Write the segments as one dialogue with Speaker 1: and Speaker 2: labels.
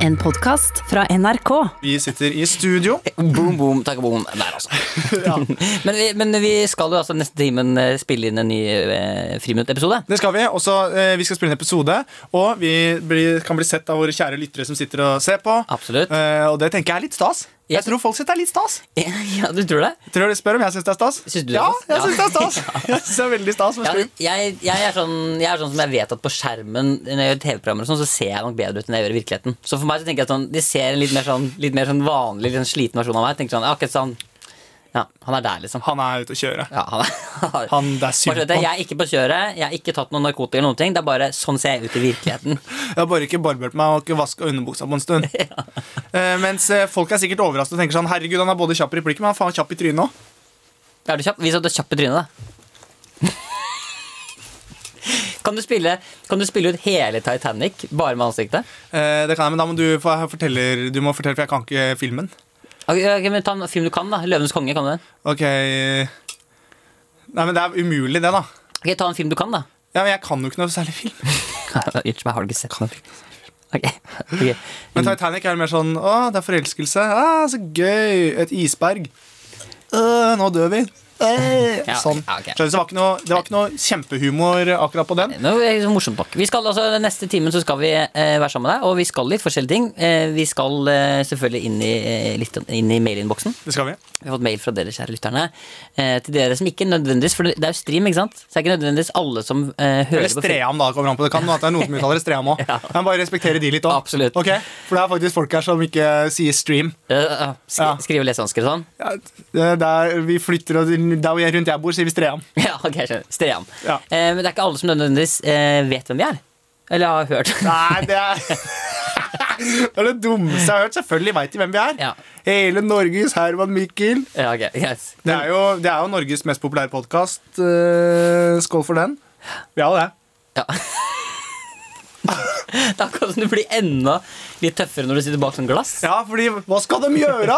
Speaker 1: En podkast fra NRK.
Speaker 2: Vi sitter i studio.
Speaker 3: Boom, boom, takk, boom. Der, altså. men, vi, men vi skal jo altså neste timen eh, spille inn en ny eh, friminuttepisode.
Speaker 2: Det skal vi. Og så, eh, vi skal spille en episode, og vi blir, kan bli sett av våre kjære lyttere som sitter og ser på.
Speaker 3: Absolutt.
Speaker 2: Eh, og det tenker jeg er litt stas. Jeg
Speaker 3: Jeg-
Speaker 2: tror folk syns det er litt stas.
Speaker 3: ja, du tror det?
Speaker 2: Tror du de spør om jeg syns det er stas?
Speaker 3: Synes du det er
Speaker 2: ja,
Speaker 3: stas?
Speaker 2: jeg syns
Speaker 3: Ja.
Speaker 2: det er stas. Jeg synes det er veldig stas med
Speaker 3: Ja,
Speaker 2: stream.
Speaker 3: jeg, jeg, er sånn, jeg er sånn som jeg vet at på skjermen Når jeg gjør TV-programmer, og sånn, så ser jeg nok bedre ut enn jeg gjør i virkeligheten. Så for meg så tenker jeg at sånn, de ser en litt mer sånn, litt mer sånn vanlig, litt sånn sliten versjon av meg. Jeg tenker sånn, ja, akkurat sånn Ja, han er der, liksom.
Speaker 2: Han er ute å kjøre.
Speaker 3: Ja, han er,
Speaker 2: Han, det er synd
Speaker 3: Bare så vet jeg,
Speaker 2: på han.
Speaker 3: jeg er ikke på kjøret, jeg har ikke tatt noen narkotika. eller noen ting Det er bare sånn ser jeg ut i virkeligheten.
Speaker 2: Jeg har bare ikke barbert meg og ikke vaska underbuksa på en stund. Eh, mens eh, folk er sikkert overrasket og tenker sånn Herregud, han er både kjapp i replikken, men han er faen kjapp i trynet òg.
Speaker 3: Er du kjapp? Vis at du er kjapp i trynet, da. Kan du, spille, kan du spille ut hele Titanic bare med ansiktet?
Speaker 2: Eh, det kan jeg, men da må du, få- forteller, du må fortelle, for jeg kan ikke filmen.
Speaker 3: Ok, ok, men Ta en film du kan, da. 'Løvenes konge'. kan du den?
Speaker 2: Ok Nei, men det er umulig, det, da.
Speaker 3: Ok, Ta en film du kan, da.
Speaker 2: Ja, men Jeg kan jo ikke noe særlig film.
Speaker 3: Unnskyld meg, har du ikke sett den? Ok, ok.
Speaker 2: Men Titanic er mer sånn Å, det er forelskelse. Å, så gøy. Et isberg. Øh, nå dør vi. Øh,
Speaker 3: Ja,
Speaker 2: sånn.
Speaker 3: ja, ok.
Speaker 2: Skjønner du, så det, var ikke noe, det var ikke noe kjempehumor akkurat på den.
Speaker 3: Nå er det så morsomt nok. Vi skal altså, den Neste timen så skal vi eh, være sammen med deg, og vi skal litt forskjellige ting. Eh, vi skal eh, selvfølgelig inn i, eh, litt inn i mailinnboksen.
Speaker 2: Det skal vi.
Speaker 3: Vi har fått mail fra dere, kjære lytterne. Eh, til dere som ikke nødvendigvis For det er jo stream, ikke sant? Så det er ikke nødvendigvis alle som eh, hører
Speaker 2: Eller
Speaker 3: på film.
Speaker 2: Stream, da. kommer an på Det kan hende at det er noen som uttaler Stream òg.
Speaker 3: Ja.
Speaker 2: Men bare respektere de litt òg.
Speaker 3: Absolutt.
Speaker 2: For det er faktisk folk her som ikke sier stream.
Speaker 3: Eh, ja, skri,
Speaker 2: Ja.
Speaker 3: Skrive lesehansker og sånn?
Speaker 2: Ja, det- Der vi flytter og der hvor jeg, rundt jeg bor, sier vi Stream.
Speaker 3: Ja, ok, jeg skjønner. Stream.
Speaker 2: Ja.
Speaker 3: Eh, men det er ikke alle som nødvendigvis eh, vet hvem vi er. Eller har hørt.
Speaker 2: Nei, det er Det er det dummeste jeg har hørt. Selvfølgelig veit de hvem vi er.
Speaker 3: Ja.
Speaker 2: Hele Norges Herman Mikkel.
Speaker 3: ja, ok, yes.
Speaker 2: Det er, jo, det er jo Norges mest populære podkast. skål for den. Vi har jo det.
Speaker 3: Ja. Det er akkurat som du blir enda litt tøffere når du sitter bak sånn glass.
Speaker 2: Ja, fordi hva skal de gjøre?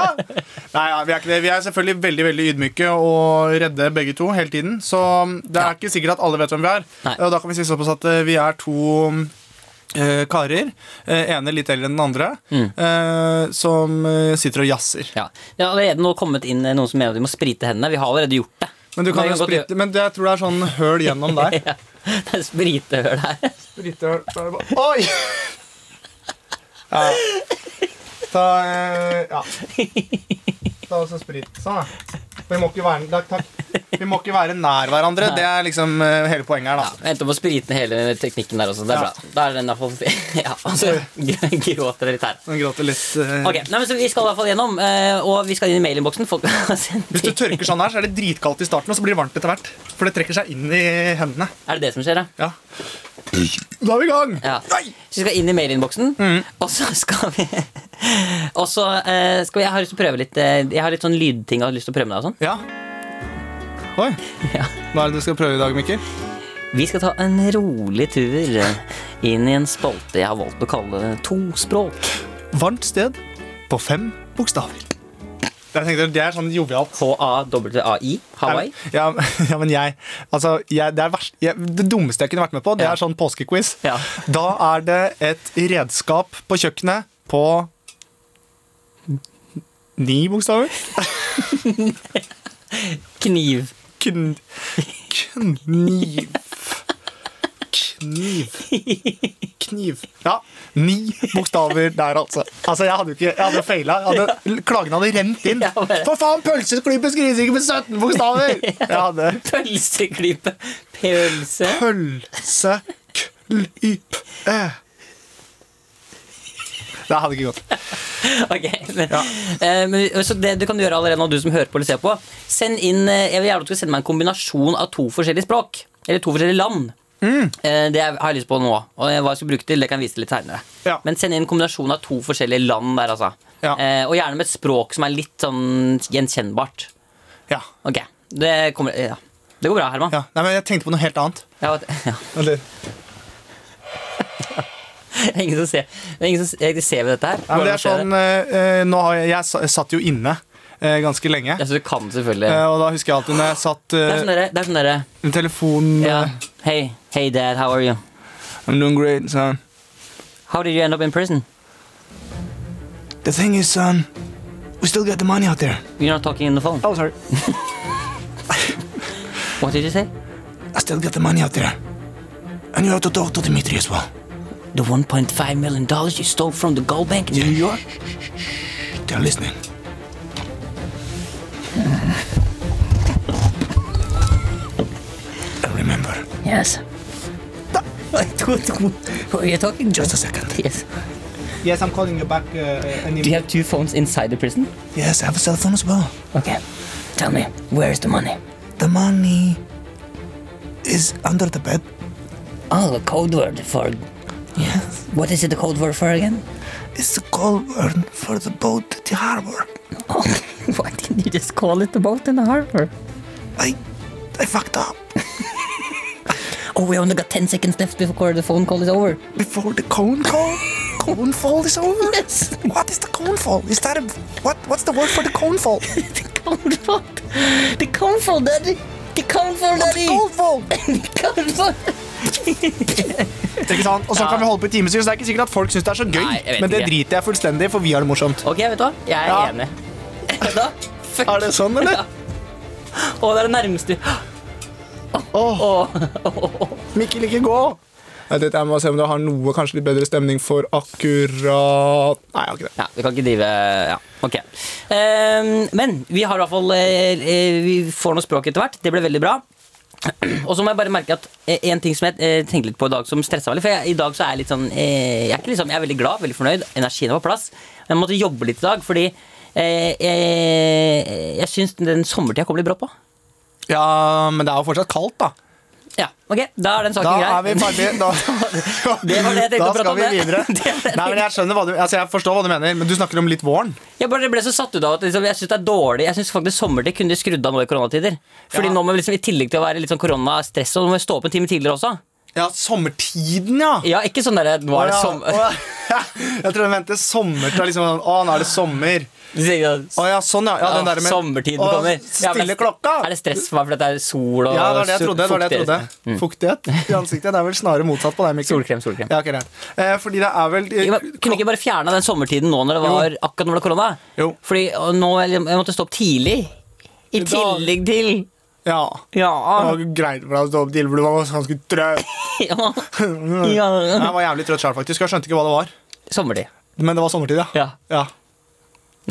Speaker 2: Nei, ja, Vi er ikke det. Vi er selvfølgelig veldig veldig ydmyke og redde begge to hele tiden. Så det er
Speaker 3: Ja.
Speaker 2: ikke sikkert at alle vet hvem vi er.
Speaker 3: Nei.
Speaker 2: Og da kan vi si såpass at eh, vi er to eh, karer, eh, ene litt eldre enn den andre,
Speaker 3: Mm.
Speaker 2: eh, som eh, sitter og jazzer.
Speaker 3: Ja. Det har allerede nå kommet inn eh, noen som mener at vi må sprite hendene. Vi har allerede gjort det.
Speaker 2: Men du kan jo
Speaker 3: Men vi kan godt
Speaker 2: sprite, men det- jeg tror det er sånn høl gjennom der.
Speaker 3: Ja. Det er spritehull her.
Speaker 2: Spriter, så er det bare Oi! Ja. Ta eh, Ja. Ta også sprit. Sånn, da. Vi må ikke være, takk, takk. Vi må ikke være nær hverandre. Det er liksom eh, hele poenget her,
Speaker 3: Ja,
Speaker 2: da.
Speaker 3: vi endte opp å sprite ned hele teknikken der også. Det er
Speaker 2: Ja.
Speaker 3: bra. Da er den i hvert fall Ja, og så gråter det litt her.
Speaker 2: Nå gråter litt. eh.
Speaker 3: Ok, nei, men så Vi skal i hvert fall gjennom, eh, og vi skal inn i mailinnboksen. Folk har sendt
Speaker 2: Hvis du
Speaker 3: inn-
Speaker 2: tørker sånn her, så er det dritkaldt i starten, og så blir det varmt etter hvert. For det trekker seg inn i hendene.
Speaker 3: Er det det som skjer, da?
Speaker 2: Ja. Da er vi i gang!
Speaker 3: Ja.
Speaker 2: Nei!
Speaker 3: Så vi skal inn i mailinnboksen, og så skal vi Og så eh, skal vi Jeg har lyst til å prøve litt eh, Jeg har litt sånn lydting jeg har lyst til å prøve med deg og sånn.
Speaker 2: Ja. Oi.
Speaker 3: Ja.
Speaker 2: Hva er det du skal prøve i dag, Mikkel?
Speaker 3: Vi skal ta en rolig tur eh, inn i en spalte jeg har valgt å kalle tospråk.
Speaker 2: Varmt sted på fem bokstaver. Jeg tenkte, Det er sånn jovialt.
Speaker 3: H-a-w-a-i. Hawaii.
Speaker 2: Ja, ja, men jeg, altså, jeg, det, er verst, jeg det dummeste jeg kunne vært med på, det
Speaker 3: Ja.
Speaker 2: er sånn påskequiz.
Speaker 3: Ja.
Speaker 2: Da er det et redskap på kjøkkenet på Ni bokstaver?
Speaker 3: Kniv.
Speaker 2: Kn, kniv. Kniv. Kniv. Ja, ni bokstaver der, altså. Altså, Jeg hadde jo ikke, jeg hadde feila. Klagene hadde rent inn.
Speaker 3: Ja, bare-
Speaker 2: For faen, pølseklype skrives ikke med 17 bokstaver! Jeg hadde...
Speaker 3: Pølseklype. Pølse.
Speaker 2: Pølseklype. Det hadde ikke gått.
Speaker 3: Ok, men, eh, men, så det du kan gjøre allerede nå, du som hører på eller ser på Send inn, eh, Jeg vil gjerne at du skal sende meg en kombinasjon av to forskjellige språk. Eller to forskjellige land.
Speaker 2: Mm.
Speaker 3: Eh, det har jeg lyst på nå. Og hva jeg skal bruke til, det kan jeg vise til litt seinere.
Speaker 2: Ja.
Speaker 3: Men send inn en kombinasjon av to forskjellige land der, altså.
Speaker 2: Ja.
Speaker 3: Eh, og gjerne med et språk som er litt sånn gjenkjennbart.
Speaker 2: Ja,
Speaker 3: Ok, Det kommer ja. Det går bra, Herman.
Speaker 2: ja. Nei, men jeg tenkte på noe helt annet.
Speaker 3: Ja, vet- ja. Det er ingen som ser, det er ingen som ser, ser vi dette her.
Speaker 2: Nei, men det
Speaker 3: Hvordan
Speaker 2: er
Speaker 3: ser
Speaker 2: sånn, eh, eh, nå har jeg, jeg sa- satt jo inne eh, ganske lenge.
Speaker 3: Ja, så du kan selvfølgelig
Speaker 2: Eh, og da husker jeg alltid når jeg satt
Speaker 3: Det er sånn
Speaker 2: eh,
Speaker 3: dere, det er sånn dere
Speaker 2: med telefonen
Speaker 3: ja.
Speaker 2: eh,
Speaker 3: Hey, hey dad, how are you?
Speaker 2: I'm doing great, son.
Speaker 3: How did you end up in prison?
Speaker 2: The thing is, um, we still got the money out there.
Speaker 3: You're not talking in the phone.
Speaker 2: Oh, sorry.
Speaker 3: What did you say?
Speaker 2: I still got the money out there. And you have to talk to Dimitri as well.
Speaker 3: The 1.5 million dollars you stole from the gold bank in New York?
Speaker 2: They're listening. I remember.
Speaker 3: Yes. Who are you talking to?
Speaker 2: Just a second.
Speaker 3: Yes.
Speaker 2: Yes, I'm calling you back. Uh,
Speaker 3: Do you have two phones inside the prison?
Speaker 2: yes, I have a cell phone as well.
Speaker 3: Okay. Tell me, where's the money?
Speaker 2: The money is under the bed.
Speaker 3: Oh, a code word for.
Speaker 2: Yes.
Speaker 3: What is it the code word for again?
Speaker 2: It's the call word for the boat at the harbor.
Speaker 3: Oh, why didn't you just call it the boat in the harbor?
Speaker 2: I, I fucked up
Speaker 3: Oh, we only got 10 seconds left before the phone call is over.
Speaker 2: before the cone call. cone fall is over.
Speaker 3: Yes.
Speaker 2: What is the cone fall? Is that a what? What's the word for the cone fall?
Speaker 3: the cone phone. The cone phone, daddy. The cone phone, daddy.
Speaker 2: Cone fall.
Speaker 3: The cone phone.
Speaker 2: Ikke sant? Og så kan vi holde på i timevis. Det er ikke sikkert at folk syns det er så gøy,
Speaker 3: Nei, jeg vet
Speaker 2: men det
Speaker 3: ikke.
Speaker 2: driter jeg fullstendig i, for vi har det morsomt.
Speaker 3: Ok, vet du hva? Jeg er
Speaker 2: Ja.
Speaker 3: enig. Vet du hva? Fuck.
Speaker 2: Er det sånn, eller?
Speaker 3: Å, det er det nærmeste.
Speaker 2: Åh,
Speaker 3: Åh.
Speaker 2: Mikkel, ikke gå! Nei, dette jeg må se om du har noe kanskje litt bedre stemning for akkurat Nei, jeg har ikke det.
Speaker 3: Ja, vi kan ikke drive Ja, ok. Ehm, men vi har i hvert fall eh, eh, Vi får noe språk etter hvert. Det ble veldig bra. Og så må jeg bare merke at eh, en ting som jeg eh, tenkte litt på i dag, som stressa meg litt For jeg, i dag så er jeg litt sånn eh, jeg, er ikke liksom, jeg er veldig glad, veldig fornøyd. Energien er på plass. Men jeg måtte jobbe litt i dag, fordi eh, jeg, jeg syns den sommertida kom litt brått på.
Speaker 2: Ja, men det er jo fortsatt kaldt, da.
Speaker 3: Ja, ok, Da er den saken
Speaker 2: Da
Speaker 3: grei.
Speaker 2: er vi ferdige. Da,
Speaker 3: Det var det jeg tenkte
Speaker 2: da
Speaker 3: å prate
Speaker 2: skal
Speaker 3: om,
Speaker 2: vi
Speaker 3: det.
Speaker 2: videre.
Speaker 3: Det var det jeg
Speaker 2: Nei, men jeg skjønner hva du Altså, jeg forstår hva du mener, men du snakker om litt våren.
Speaker 3: Jeg bare ble så satt ut av at liksom, jeg syns det er dårlig. Jeg synes faktisk Sommertid kunne de skrudd av nå i koronatider. Fordi
Speaker 2: Ja.
Speaker 3: nå må vi liksom, I tillegg til å være litt sånn koronastress, og nå må vi stå opp en time tidligere også.
Speaker 2: Ja, sommertiden, ja.
Speaker 3: Ja, ikke sånn der, nå
Speaker 2: Å,
Speaker 3: er det
Speaker 2: ja.
Speaker 3: sommer
Speaker 2: Å, ja. Jeg tror jeg mente sommer til liksom sånn, Å, nå er det sommer.
Speaker 3: Du sier ikke
Speaker 2: Å
Speaker 3: sånn,
Speaker 2: ja, sånn, ja. ja den der med,
Speaker 3: Sommertiden
Speaker 2: Å,
Speaker 3: kommer. Ja, men
Speaker 2: Stille klokka.
Speaker 3: Er det stress for meg fordi det er sol og
Speaker 2: Ja, det var det jeg trodde. Det var det jeg trodde.
Speaker 3: fuktighet? Mm.
Speaker 2: Fuktighet i ansiktet. Det er vel snarere motsatt på deg, Mikkel.
Speaker 3: Solkrem, solkrem.
Speaker 2: Ja, ok, greit. Eh, fordi det er vel eh,
Speaker 3: Ja, men Kunne vi ikke bare fjerna den sommertiden nå når det var akkurat når det var korona?
Speaker 2: Jo.
Speaker 3: Fordi og nå jeg måtte stå opp tidlig. I
Speaker 2: dag.
Speaker 3: tillegg til
Speaker 2: Ja.
Speaker 3: Ja.
Speaker 2: Det var greit for deg å stå opp tidlig, for du var ganske trøtt.
Speaker 3: ja. ja.
Speaker 2: Jeg var jævlig trøtt sjøl, faktisk. Jeg skjønte ikke hva det var.
Speaker 3: Sommertid.
Speaker 2: Men det var sommertid, ja.
Speaker 3: Ja.
Speaker 2: ja.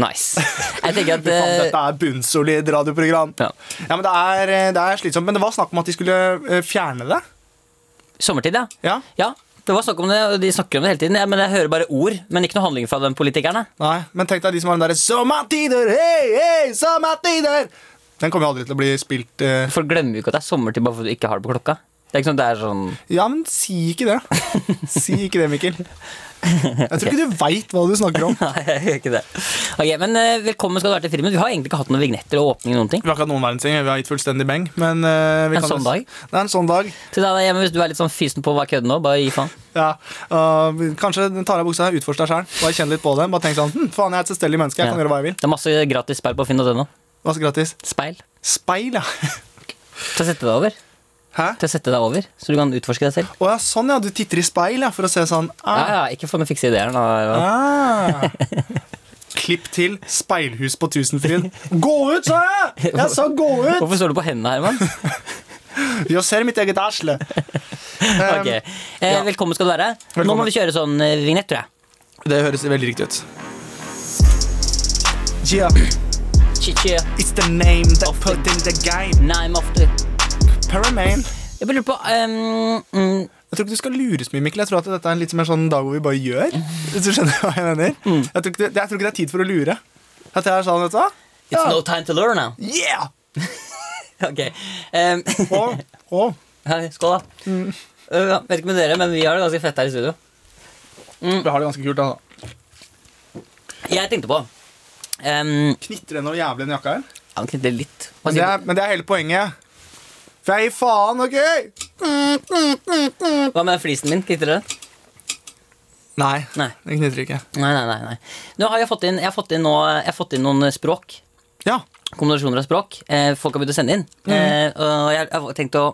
Speaker 3: Nice. Jeg tenker
Speaker 2: Fy faen,
Speaker 3: at eh,
Speaker 2: dette er bunnsolid radioprogram.
Speaker 3: ja.
Speaker 2: Ja, men det er, eh, det er slitsomt. Men det var snakk om at de skulle eh, fjerne det.
Speaker 3: eh, Sommertid, ja.
Speaker 2: Ja?
Speaker 3: Ja, det var snakk om det, og de snakker om det hele tiden. Ja, men jeg hører bare ord, men ikke noe handling fra de politikerne.
Speaker 2: Nei, men tenk deg de som har den derre 'Sommertider, hei, hei, sommertider'. Den kommer jo aldri til å bli spilt eh,
Speaker 3: Folk glemmer jo ikke at det er sommertid bare fordi du ikke har det på klokka. Det er ikke sånn, det er sånn
Speaker 2: Ja, men si ikke det. Si ikke det, Mikkel. Jeg tror ikke du veit hva du snakker om.
Speaker 3: Nei, jeg gjør ikke det. Ok, men eh, velkommen skal du være til filmen. Vi har egentlig ikke hatt noen vignetter eller åpning eller noen ting.
Speaker 2: Vi har ikke hatt noen verdens ting. Vi har gitt fullstendig beng. Men eh, vi
Speaker 3: En
Speaker 2: kan
Speaker 3: sånn dag?
Speaker 2: Det er en sånn dag.
Speaker 3: Så da, hjemme, hvis du er litt sånn fysen på hva kødden nå, bare gi faen.
Speaker 2: Ja. Uh, kanskje ta av deg buksa, utforsk deg sjøl. Bare kjenn litt på det. Bare tenk sånn hm, Faen, jeg er et selvstendig menneske. Jeg kan
Speaker 3: Ja.
Speaker 2: gjøre hva jeg vil.
Speaker 3: Det er masse gratis speil på finn.no.
Speaker 2: Hva så gratis?
Speaker 3: Speil.
Speaker 2: Speil, ja.
Speaker 3: Til å sette deg over.
Speaker 2: Hæ?
Speaker 3: Til å sette deg over, så du kan utforske deg selv.
Speaker 2: Å ja, sånn ja. Du titter i speil, ja, for å se sånn.
Speaker 3: Ja,
Speaker 2: Ah.
Speaker 3: ja, ikke få noen fikse ideer nå. eller hva?
Speaker 2: Ah. Klipp til speilhus på Tusenfryd. Gå ut, sa jeg! Jeg sa gå ut!
Speaker 3: Hvorfor står du på hendene, Herman?
Speaker 2: Jeg ser mitt eget æsle.
Speaker 3: Ok.
Speaker 2: Um,
Speaker 3: Eh, velkommen skal du være. Nå må
Speaker 2: Velkommen.
Speaker 3: vi kjøre sånn eh, vignett, tror jeg.
Speaker 2: Det høres veldig riktig ut. Yeah,
Speaker 3: Chi-chi.
Speaker 2: it's the name that put in the game.
Speaker 3: Name of the
Speaker 2: Paramain.
Speaker 3: Jeg bare lurer på ehm, mm,
Speaker 2: Jeg tror ikke du skal lure så mye, Mikkel. Jeg tror at dette er en litt mer sånn dag hvor vi bare gjør. Hvis du skjønner hva jeg mener. Jeg, tror ikke det, jeg tror ikke det er tid for å lure. At jeg er sånn, vet du hva?
Speaker 3: It's
Speaker 2: Ja.
Speaker 3: no time to learn now.
Speaker 2: Yeah!
Speaker 3: Ok. ehm,
Speaker 2: Og, og.
Speaker 3: hei, skål, da.
Speaker 2: Mm.
Speaker 3: Uh, vet ikke med dere, men vi har det ganske fett her i studio.
Speaker 2: Vi har det ganske kult, altså.
Speaker 3: Jeg tenkte på ehm,
Speaker 2: Knitter det noe jævlig i den jakka her?
Speaker 3: Ja, men knytte litt. Hva
Speaker 2: Men det,
Speaker 3: sier-
Speaker 2: er, men det er hele poenget. For jeg gir faen, OK?
Speaker 3: Hva med flisen min? Knytter dere den?
Speaker 2: Nei,
Speaker 3: Nei.
Speaker 2: den knitrer ikke.
Speaker 3: Nei, nei, nei. nei. Nå har jeg fått inn, jeg har fått inn, nå, jeg har fått inn noen eh, språk.
Speaker 2: Ja.
Speaker 3: kombinasjoner av språk eh, folk har begynt å sende inn. Eh, og jeg, jeg har tenkt å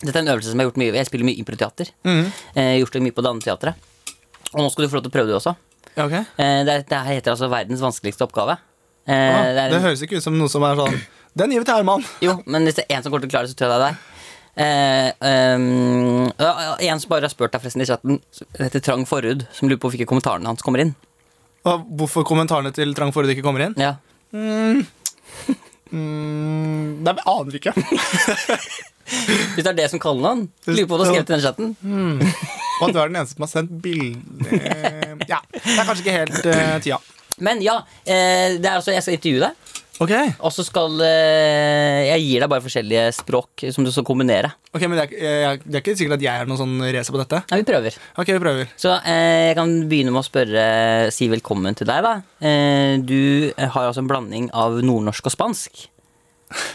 Speaker 3: Dette er en øvelse som jeg har gjort mye Jeg spiller mye improteater. Mm. Eh, gjort det mye på Danneteatret. Og nå skal du få lov til å prøve det også.
Speaker 2: Ok.
Speaker 3: Eh, Det, er- det her heter altså verdens vanskeligste oppgave. Eh,
Speaker 2: Ah,
Speaker 3: det er
Speaker 2: det
Speaker 3: en,
Speaker 2: høres ikke ut som noe som er sånn Den gir vi til Herman.
Speaker 3: jo, men hvis det er en som kommer til å klare det, så tror jeg det er deg. Eh, ehm, ja, en som bare har spurt deg forresten i chatten, heter Trang Forhud, som lurer på hvorfor ikke kommentarene hans kommer inn.
Speaker 2: Og hvorfor kommentarene til Trang Forhud ikke kommer inn?
Speaker 3: Ja.
Speaker 2: Mm, nei, men jeg aner ikke.
Speaker 3: Hvis det er det som kaller han, lurer på hva du har skrevet i den chatten.
Speaker 2: Og at du er den eneste som har sendt bilde Ja, det er kanskje ikke helt eh, tida.
Speaker 3: Men ja, eh, det er altså, jeg skal intervjue deg.
Speaker 2: Ok,
Speaker 3: Og så skal eh, Jeg gir deg bare forskjellige språk som du skal kombinere.
Speaker 2: Ok, men det er, jeg, det er ikke sikkert at jeg er noen sånn racer på dette.
Speaker 3: Nei, vi prøver.
Speaker 2: Ok, vi prøver.
Speaker 3: Så eh, jeg kan begynne med å spørre Si velkommen til deg, da. Eh, du har altså en blanding av nordnorsk og spansk.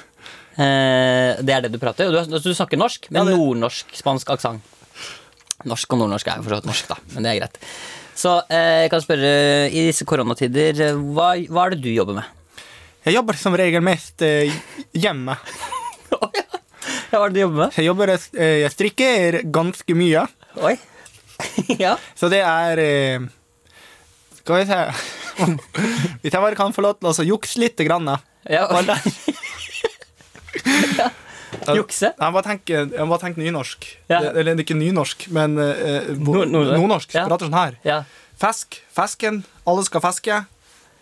Speaker 3: Eh, det er det du prater? Og du, har- altså, du snakker norsk,
Speaker 2: Ja,
Speaker 3: men
Speaker 2: det-
Speaker 3: nordnorsk-spansk aksent. Norsk og nordnorsk er jo for så vidt norsk, da, men det er greit. Så eh, jeg kan spørre, i disse koronatider, eh, hva, hva er det du jobber med?
Speaker 2: Jeg jobber som regel mest eh, hjemme.
Speaker 3: Ja, hva er det du jobber med?
Speaker 2: Jeg, jobber, eh, jeg strikker ganske mye,
Speaker 3: Oi. ja.
Speaker 2: så det er eh, Skal vi se Hvis jeg bare kan få lov til å så jukse litt. Grann, da.
Speaker 3: ja.
Speaker 2: Bare der.
Speaker 3: Jukse?
Speaker 2: Jeg må bare tenke, jeg må bare tenke nynorsk.
Speaker 3: Ja.
Speaker 2: Det- Eller ikke nynorsk, men eh, bo-
Speaker 3: Nord- nordnorsk.
Speaker 2: nordnorsk.
Speaker 3: Ja.
Speaker 2: Prater sånn her.
Speaker 3: Ja.
Speaker 2: Fisk. Fisken. Alle skal fiske.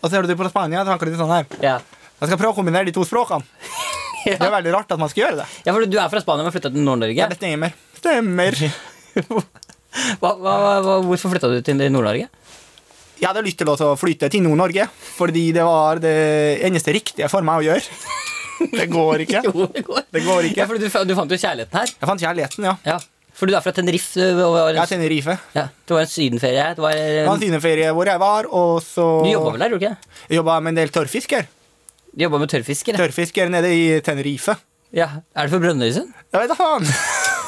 Speaker 2: Og så er du på Spania. tenker du litt sånn her.
Speaker 3: ja.
Speaker 2: Jeg skal prøve å kombinere de to språkene.
Speaker 3: Ja.
Speaker 2: Det er veldig rart at man skal gjøre det.
Speaker 3: Ja, for du er fra Spania, men flytta til Nord-Norge.
Speaker 2: Det stemmer. Stemmer.
Speaker 3: Hva, hva, hva, hvorfor flytta du til Nord-Norge?
Speaker 2: Jeg hadde lyst til å flytte til Nord-Norge, fordi det var det eneste riktige for meg å gjøre. Det går ikke.
Speaker 3: Jo, det går.
Speaker 2: Det går ikke.
Speaker 3: Ja, fordi du, fa- du fant jo kjærligheten her.
Speaker 2: Jeg fant kjærligheten, ja.
Speaker 3: Ja. For du er fra Tenerife. Det var,
Speaker 2: Jeg er Tenerife.
Speaker 3: ja, det var en sydenferie. Det var, øh,
Speaker 2: Det var en sydenferie hvor jeg var, og så
Speaker 3: du jobba vel der, gjorde du ikke?
Speaker 2: Jeg jobba med en del tørrfisker.
Speaker 3: det? Du jobba med tørrfisker? Ja.
Speaker 2: Tørrfisker nede i Tenerife.
Speaker 3: ja. Er du fra Brønnøysund?
Speaker 2: Jeg vet da faen.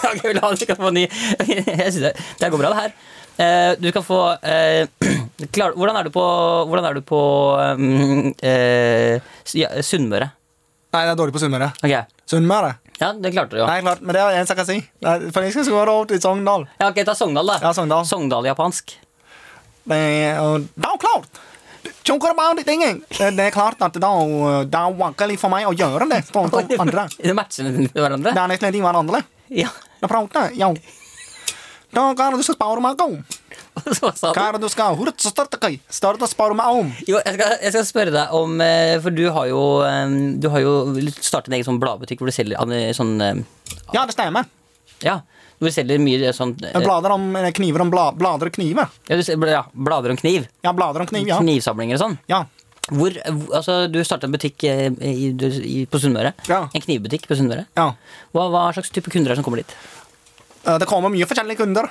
Speaker 3: Ok, vi la det, du kan få ny. Jeg synes det, det går bra, det her. Eh, du kan få eh, klar, Hvordan er du på, hvordan er du på um, eh, s- ja, Sunnmøre?
Speaker 2: Nei, det er dårlig på Sunnmøre.
Speaker 3: Ok,
Speaker 2: Sunnmøre?
Speaker 3: Ja, det klarte du jo.
Speaker 2: Nei, klart, men det er det eneste jeg kan si. Nei, for jeg skal gå over til Sogndal.
Speaker 3: Ja, ok, Ta Sogndal, da.
Speaker 2: Ja, Sogndal.
Speaker 3: Sogndal-japansk.
Speaker 2: Det er, og det er jo klart! Tjonker about it, ingen. Det er klart at det er jo- det er vanskelig for meg å gjøre det. for de andre.
Speaker 3: Det matcher litt
Speaker 2: Det
Speaker 3: hverandre?
Speaker 2: er nesten de hverandre.
Speaker 3: Ja.
Speaker 2: Det prater jeg, ja. Da, hva er det du skal spare meg om?
Speaker 3: Så sa du
Speaker 2: Hva er det du skal hurt, så starte hva? Starte å spare meg om?
Speaker 3: Jo, jeg skal, jeg skal spørre deg om eh, For du har jo, eh, du har jo startet en egen sånn bladbutikk hvor du selger eh, sånn eh,
Speaker 2: Ja, det stemmer.
Speaker 3: Ja, hvor du selger mye sånn eh,
Speaker 2: Jeg Blader om eh, kniver om bla, blader og kniver.
Speaker 3: ja, du, selger- ja, blader om kniv.
Speaker 2: Ja, blader om kniv, ja.
Speaker 3: Knivsamlinger og sånn.
Speaker 2: Ja,
Speaker 3: Hvor, hvor- altså, du startet en butikk eh, i, du- i, på Sunnmøre.
Speaker 2: Ja.
Speaker 3: En knivbutikk på Sunnmøre.
Speaker 2: ja.
Speaker 3: Hva, hva slags type kunder er det som kommer dit?
Speaker 2: Eh, Det kommer mye forskjellige kunder.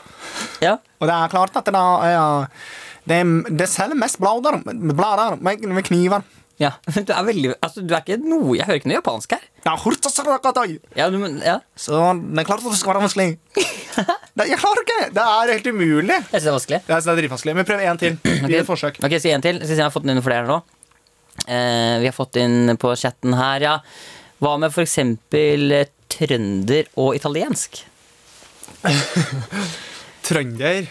Speaker 3: Ja,
Speaker 2: Og det er klart at det da er det, det selger mest blader, blader med, med kniver.
Speaker 3: ja. Men du er veldig altså, Du er ikke noe Jeg hører ikke noe japansk her.
Speaker 2: Ja, hurt, så starte hva da?
Speaker 3: Ja, du, men- ja.
Speaker 2: Så det er klart at det skal være vanskelig. Det, jeg klarer ikke! Det er helt umulig.
Speaker 3: Jeg syns det er vanskelig.
Speaker 2: Det er, det er dritvanskelig. Men prøv en til. Gi et forsøk.
Speaker 3: Ok, si en til. Jeg skal si jeg har fått inn noen flere her nå. Eh, vi har fått inn på chatten her, ja. Hva med for eksempel eh, trønder og italiensk?
Speaker 2: Trønder.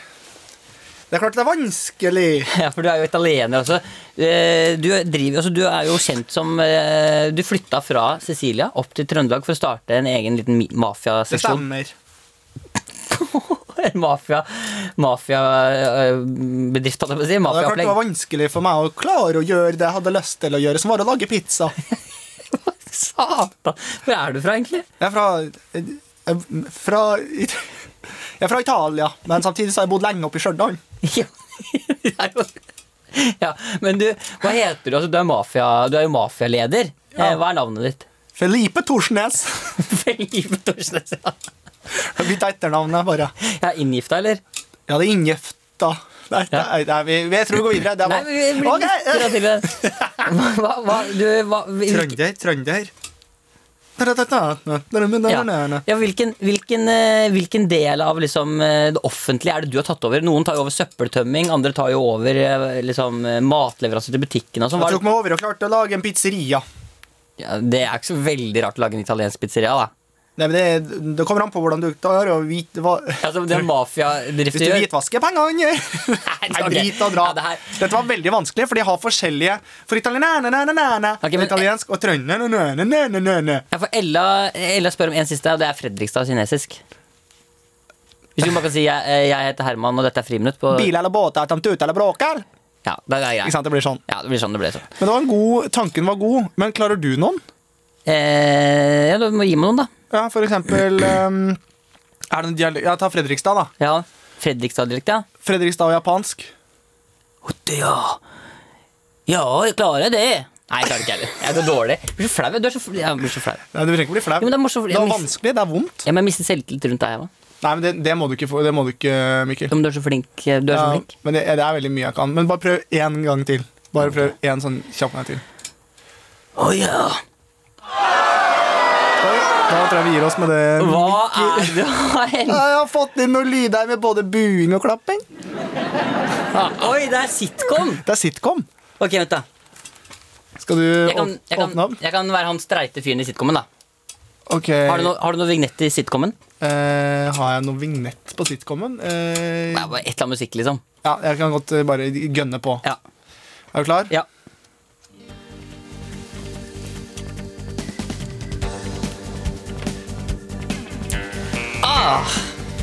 Speaker 2: Det er klart det er vanskelig.
Speaker 3: Ja, for du er jo italiener også. Eh, du, driver, altså, du er jo kjent som eh, Du flytta fra Sicilia opp til Trøndelag for å starte en egen liten mi-
Speaker 2: Det sånn.
Speaker 3: mafiaseksjon.
Speaker 2: stemmer.
Speaker 3: En mafia mafiabedrift, holdt jeg på å si.
Speaker 2: Det er klart det var
Speaker 3: Mafiaopplegg.
Speaker 2: vanskelig for meg å klare å gjøre det jeg hadde lyst til å gjøre, som var å lage pizza.
Speaker 3: Satan! Hvor er du fra, egentlig?
Speaker 2: Jeg er fra eh, eh, fra, It- jeg er fra Italia, men samtidig så har jeg bodd lenge oppe i Stjørdal.
Speaker 3: Ja, det er jo- ja, men du, hva heter du? Altså, du, er mafia, du er jo mafialeder. Eh, Hva er navnet ditt?
Speaker 2: Felipe Thorsnes.
Speaker 3: Felipe Thorsnes. ja.
Speaker 2: Jeg bytta etternavnet, bare.
Speaker 3: Jeg er inngifta, eller?
Speaker 2: Jeg hadde inngifta Nei, nei, nei vi, vi- jeg tror vi går videre. Det var,
Speaker 3: Nei, vi blir
Speaker 2: Ok, eh,
Speaker 3: litt til det. Hva, hva, du, hva, hvil-
Speaker 2: Trønder, trønder. Ja.
Speaker 3: ja, hvilken, hvilken, eh, hvilken del av liksom, eh, det offentlige er det du har tatt over? Noen tar jo over søppeltømming, andre tar jo over eh, liksom, eh, matleveranser til butikken. Og sånn.
Speaker 2: Jeg
Speaker 3: Hva er
Speaker 2: tok
Speaker 3: det-
Speaker 2: meg over og klarte å lage en pizzeria.
Speaker 3: ja, det er ikke så veldig rart å lage en italiensk pizzeria, da.
Speaker 2: Nei, men det, det kommer an på hvordan du tar og vit, hva,
Speaker 3: Altså, det mafiadriftet
Speaker 2: Hvis du
Speaker 3: gjør
Speaker 2: hvitvasker pengene Nei,
Speaker 3: ok.
Speaker 2: drit og dra.
Speaker 3: Ja, det her-
Speaker 2: Dette var veldig vanskelig, for de har forskjellige For italienerne
Speaker 3: Ok, men-
Speaker 2: Italiensk og trønderne
Speaker 3: Ja, for Ella, Ella spør om en siste, og det er Fredrikstad kinesisk. Hvis du bare kan si jeg, eh, 'jeg heter Herman, og dette er friminutt' på
Speaker 2: Bil eller båt, at de tuter eller bråker.
Speaker 3: Ja, det er greit.
Speaker 2: Ikke sant, det blir sånn.
Speaker 3: Ja, det blir sånn det ble sånn.
Speaker 2: Men det var en god, tanken var god. Men klarer du noen?
Speaker 3: Eh, ja, du må gi meg noen, da.
Speaker 2: Ja, for eksempel ehm, Er det en dialekt Ja, ta Fredrikstad, da.
Speaker 3: Ja, Fredrikstad-dialekt, ja.
Speaker 2: Fredrikstad og japansk.
Speaker 3: Å, det, Ja, ja, jeg klarer det. Nei, jeg klarer ikke heller. Jeg er så dårlig. Jeg blir så flau. vet Du Du er så, fl- jeg blir så flau.
Speaker 2: Nei, Du trenger ikke bli flau.
Speaker 3: Jo, men det er morsomt,
Speaker 2: Det
Speaker 3: jeg
Speaker 2: er
Speaker 3: mis-
Speaker 2: vanskelig, det er vondt.
Speaker 3: Jeg må miste selvtillit rundt deg, Eva.
Speaker 2: Nei, men Det, det må du ikke, få- det må du ikke Mikkel.
Speaker 3: Ja, men du er så flink. Du er
Speaker 2: Ja,
Speaker 3: så flink.
Speaker 2: men det, det er veldig mye jeg kan. Men bare prøv én gang til. Bare prøv én sånn kjapp gang til.
Speaker 3: Å ja.
Speaker 2: Da, da tror jeg vi gir oss med det.
Speaker 3: Hva er det du har hendt?
Speaker 2: Jeg har fått inn noen lyder med både buing og klapping.
Speaker 3: Oi, det er sitcom!
Speaker 2: Det er sitcom.
Speaker 3: Ok, vent, da.
Speaker 2: Skal du
Speaker 3: Jeg kan,
Speaker 2: åp-
Speaker 3: jeg kan,
Speaker 2: åpne opp?
Speaker 3: jeg kan være han streite fyren i sitcomen, da.
Speaker 2: Ok.
Speaker 3: Har du, noe, har du noe vignett i sitcomen?
Speaker 2: Eh, har jeg noe vignett på sitcomen? Eh,
Speaker 3: Det er bare et eller annet musikk, liksom.
Speaker 2: ja, jeg kan godt eh, bare gønne på.
Speaker 3: Ja.
Speaker 2: Er du klar?
Speaker 3: ja. Ah,